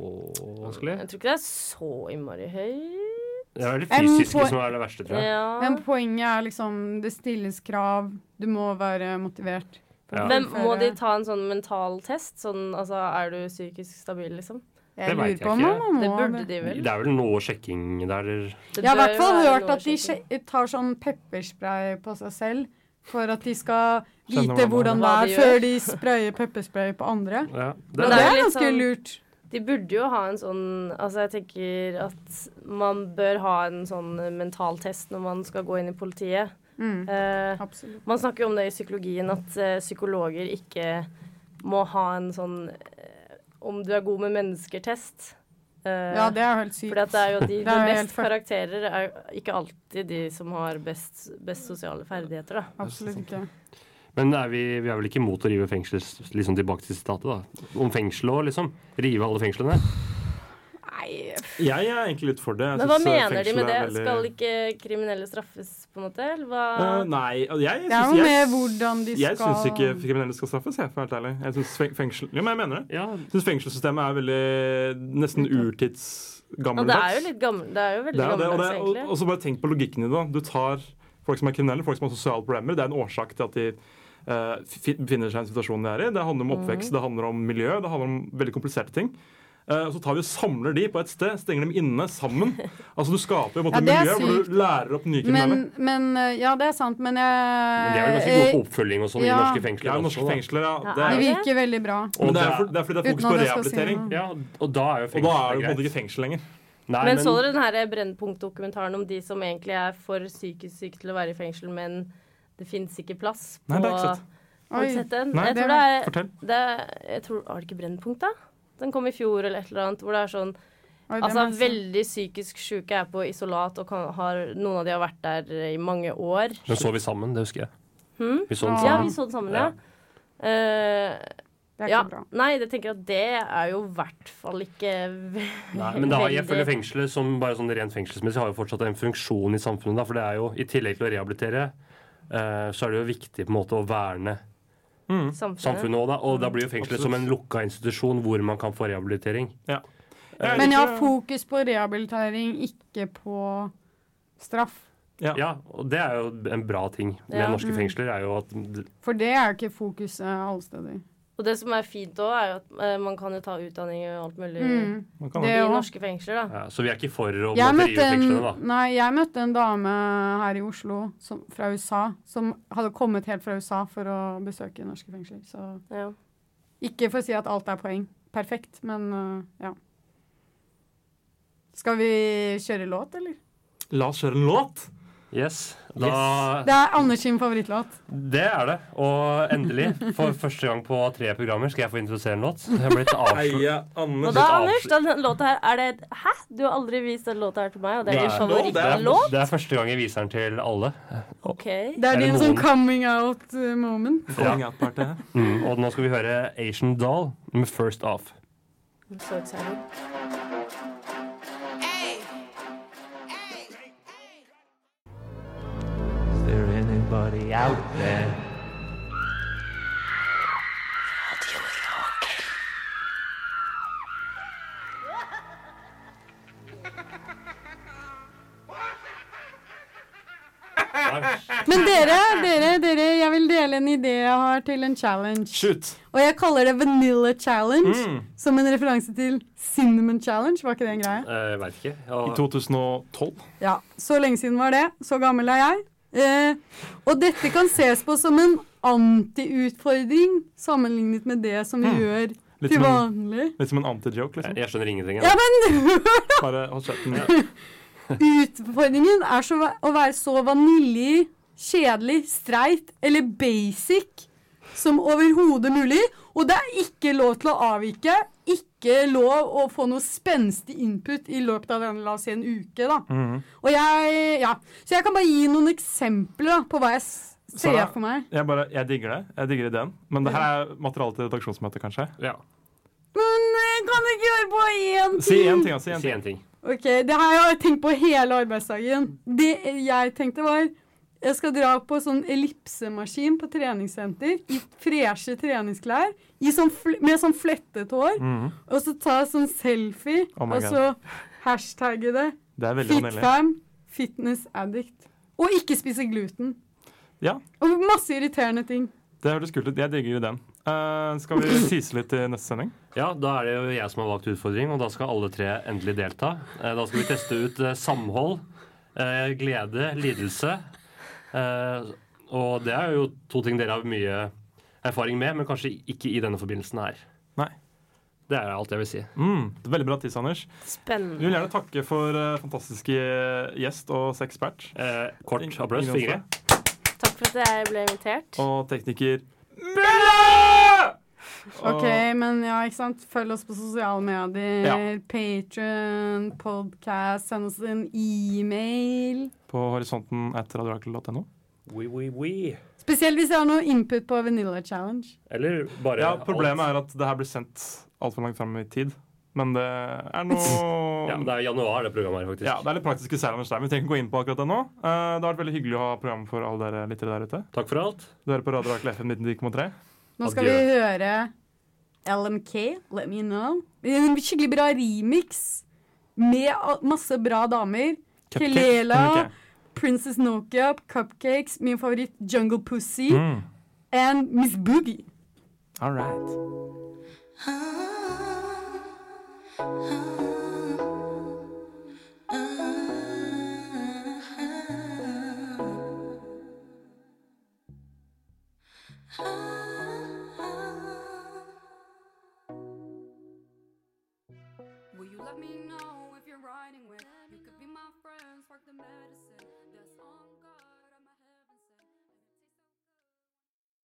E: vanskelig.
F: Jeg tror ikke det er så innmari høyt.
E: Det er vel det
C: Em,
E: fysiske
C: på-
E: som er det verste, tror jeg.
F: Ja.
C: Men poenget er liksom det stilles krav, du må være motivert. for å
E: Ja.
F: Men må
C: fullføre.
F: de ta en sånn mental test? Sånn, altså, er du psykisk stabil, liksom?
C: Jeg
E: Det
C: lurer
E: vet jeg
C: på om
E: ikke.
C: man
F: Det
C: må
F: burde de vel?
E: Det er vel noe sjekking der eller
F: Det
C: Jeg har i
F: bør
C: hvert fall
F: være
C: hørt
F: noe
C: at de
F: sjekking.
C: sje- tar sånn pepperspray på seg selv for at de skal
D: Kjenne
C: vite
D: hvordan
C: hvordan det
F: det er.
C: er før de sprayer pepperspray på andre.
E: ja.
C: Og
E: det,
C: det
F: jo
C: er
F: litt
C: ganske
F: sånn-
C: lurt.
F: De burde jo ha en sånn Altså, jeg tenker at man bør ha en sånn mental test når man skal gå inn i politiet.
C: Mm,
F: Eh,
C: absolutt.
F: man snakker jo om det i psykologien, at eh, psykologer ikke må ha en sånn eh, om du er god med mennesker-test. Eh,
C: Ja, det er jo helt
F: Fordi
C: sykt.
F: at det er jo de
C: Det er
F: med
C: jo helt
F: best
C: fuck-
F: karakterer er jo ikke alltid de som har best, best sosiale ferdigheter, da.
C: Absolutt ikke.
E: Men er vi, vi er vel ikke imot å rive fengsler, s- liksom tilbake til sitatet, da. Om fengsel òg, liksom. Rive alle fengslene.
F: Nei,
D: Jeg er egentlig litt for det. Jeg
F: men hva
D: synes, eh,
F: mener de
D: fengsel
F: med det?
D: er veldig-
F: Skal ikke kriminelle straffes, på en måte? Eller hva?
D: Eh, nei, altså, jeg, jeg,
C: Det er
D: synes-
C: jo
D: jeg-
C: med hvordan de
D: Jeg syns
C: skal
D: ikke kriminelle skal straffes, jeg, for å være helt ærlig. Jeg synes feng- fengsel... Jo, men jeg mener det.
E: Ja,
D: Jeg syns fengselssystemet er veldig nesten
C: sånn.
F: Ja, det er jo
D: urtidsgammeldags.
F: litt gammel, det er jo veldig
D: Det er jo det, og, det,
F: gammeldags,
D: og,
F: egentlig.
D: og så bare tenk på logikken i det. da. Du tar folk som er kriminelle, folk som har sosiale problemer. Det er en årsak til at de eh, fi- befinner seg i en situasjon de er i. Det handler om
F: Mm.
D: oppvekst, det handler om miljø, det handler om veldig kompliserte ting. Eh, og så tar vi og samler de på et sted, stenger dem inne sammen. Altså Du skaper jo på en
C: Ja,
D: måte
C: det er
D: miljø hvor
C: sykt.
D: du lærer opp nye kriminelle.
C: men, men eh, Ja, det er sant, men jeg
E: Men de er vel ganske gode på oppfølging og sånn i
C: ja.
E: norske fengsler.
D: Ja,
E: også,
D: norske
E: da.
D: fengsler, ja. Det
F: Ja,
C: Det
D: er,
C: virker veldig bra.
E: Og
D: men det
E: det
D: er,
E: er-
D: for, det er fordi det er fokus
C: Uten
D: på
C: at jeg skal si
D: rehabilitering.
C: noe.
E: Ja, og da er jo
D: Og da
E: fengsel
D: er du på en måte
E: greit.
D: ikke i fengsel lenger.
E: Nei,
F: men, så dere den her Brennpunkt-dokumentaren om de som egentlig er for psykisk syke til å være i fengsel, men det fins ikke plass på
D: Nei, det er ikke sant.
F: Har
C: Oi.
F: du sett den?
D: Nei,
F: jeg
C: det
F: tror det
C: har
F: er,
D: Fortell.
F: det er jeg tror, Var det ikke Brennpunkt, da? Den kom i fjor eller et eller annet. Hvor det er sånn
C: Oi, det
F: Altså,
C: må jeg si.
F: veldig psykisk syke er på isolat, og kan, har, noen av de har vært der i mange år.
E: Den så vi sammen, det husker jeg.
F: Hmm?
E: Vi så den
F: Ja,
E: sammen.
F: vi så den sammen, ja. Eh,
C: Det er
F: ja.
C: ikke bra.
F: Nei, det tenker jeg at det er jo i hvert fall ikke ve-
E: Nei, men da, jeg
F: veldig-
E: føler fengselet som bare sånn rent fengselsmessig har jo fortsatt en funksjon i samfunnet. Da, for det er jo, i tillegg til å rehabilitere, eh, så er det jo viktig på en måte å verne
D: Mm. Eh,
F: samfunnet.
E: samfunnet òg. Da, og da blir jo fengselet som en lukka institusjon hvor man kan få rehabilitering.
D: Jeg
C: Men jeg
D: liker-
C: har fokus på rehabilitering, ikke på straff.
E: Ja, og det er jo en bra ting med
F: Ja.
E: norske fengsler, er jo at
C: For det er jo ikke fokuset alle steder.
F: Og det som er fint òg, er jo at eh, man kan jo ta utdanning og alt mulig
C: Mm.
D: Man kan
C: Det
F: i
C: òg.
F: norske fengsler, da.
E: ja, Så vi er ikke for å
C: Jeg
E: måtte
C: møtte,
E: rive
C: en,
E: fengslene, da.
C: nei, jeg møtte en dame her i Oslo som, fra USA som hadde kommet helt fra USA for å besøke norske fengsler. Så
F: Ja.
C: ikke for å si at alt er poeng. Perfekt, men øh, ja. Skal vi kjøre låt, eller?
D: La oss kjøre en låt.
E: Yes. Da
C: Det er Anders sin favorittlåt.
E: Det er det. Og endelig, for første gang på tre programmer, skal jeg få introdusere en låt. Jeg har blitt avslørt.
D: Heia
F: Og
D: Anders.
F: da,
E: avsl-
F: Anders, den låta her er det et- Hæ? Du har aldri vist den låta her til meg, og det er
E: Nei.
F: din
E: Det er,
F: favorittlåt?
E: det er første gang jeg viser den til alle.
F: OK.
C: Det er,
E: Er det
C: din sånn
E: noen-
C: coming out øh, moment.
D: Coming out-party her.
E: Mm. Og nå skal vi høre Asian Doll med First Off.
F: I'm so excited.
I: there anybody out there?
C: Men dere, dere, dere, jeg vil dele en idé jeg har til en challenge.
D: Shoot.
C: Og jeg kaller det Vanilla Challenge, som en referanse til Cinnamon Challenge. Var ikke det en greie?
E: Eh, Jeg veit ikke.
D: I
E: Og,
D: 2012.
C: Ja, Så lenge siden var det. Så gammel er jeg. Eh, og dette kan ses på som en antiutfordring sammenlignet med det som vi gjør
D: Litt
C: til
D: sånn- som en,
C: vanlig.
D: litt som en anti-joke, liksom.
E: jeg skjønner ingenting.
C: Ja,
E: Jeg.
C: men
D: Bare hold kjeften.
C: utfordringen er så, va- å være så vanilje, kjedelig, streit eller basic som overhodet mulig. Og det er ikke lov til å avvike. Ikke lov å få noe spenstig input i løpet av denne, la oss si, en uke. da.
D: Mm.
C: Og jeg, ja, Så jeg kan bare gi noen eksempler da, på hva jeg s- ser
D: Sara?
C: for meg.
D: Jeg, bare, jeg digger det. Jeg digger ideen. Men det her er materiale til redaksjonsmøte, kanskje.
E: Ja.
C: Men jeg kan ikke gjøre på én ting!
D: Si én ting, da. Si en
E: Si
D: ting.
E: en ting.
C: Ok, Det har jeg tenkt på hele arbeidsdagen. Det jeg tenkte, var jeg skal dra på sånn ellipsemaskin på treningssenter i freshe treningsklær i sånn fl med sånn flettet hår. Og så ta sånn selfie
D: Mm. Oh my
C: og
D: God.
C: så hashtagge det
D: Det er veldig vanilje.
C: Fitfam, fitness addict. Og ikke spise gluten.
D: Ja.
C: Og masse irriterende ting.
D: Det hørtes kult ut. Jeg digger ideen. Eh, skal vi tease litt i neste sending?
E: Ja, da er det jo jeg som har valgt utfordring, og da skal alle tre endelig delta. Eh, Da skal vi teste ut eh, samhold, eh, glede, lidelse. Eh, Og det er jo to ting dere har mye erfaring med, men kanskje ikke i denne forbindelsen her.
D: Nei.
E: Det er alt jeg vil si.
D: Mm, det er veldig bra tiss, Anders. Vi
F: Spennende.
D: vil gjerne takke for eh, fantastiske eh, gjest og sexpert.
E: Eh, Kort
D: Ingen-
E: applaus.
D: ingen
E: Fingre.
F: Takk for at jeg ble invitert.
D: Og tekniker
C: OK, men ja, ikke sant. Følg oss på sosiale medier.
D: Ja.
C: Patron, podcast, send oss en e-mail.
D: på horisonten at radiorakel.no.
E: Oui, oui, oui.
C: Spesielt hvis jeg har noe input på Vanilla Challenge.
E: Eller bare
D: Ja,
E: alt.
D: problemet er at det her blir sendt altfor langt fram i tid. Men det er noe
E: Ja, Det er januar, det programmet her, faktisk.
D: Ja, det er litt praktiske seier, Anders der, men vi trenger ikke gå inn på akkurat det nå. Eh, det har vært veldig hyggelig å ha program for alle dere lyttere der ute.
E: Takk for alt.
D: Du hører på Radio Rakel FM 19,3.
C: Nå skal
E: Adjø.
C: vi høre LMK, Let Me Know. En skikkelig bra remix med al- masse bra damer.
D: Cupcake. Mm,
C: Kelela,
D: Ok.
C: Princess Nokia, Cupcakes, min favoritt Jungle Pussy
D: Mm.
C: and Miss Boogie.
D: All right.
J: Will you let me know if you're riding with your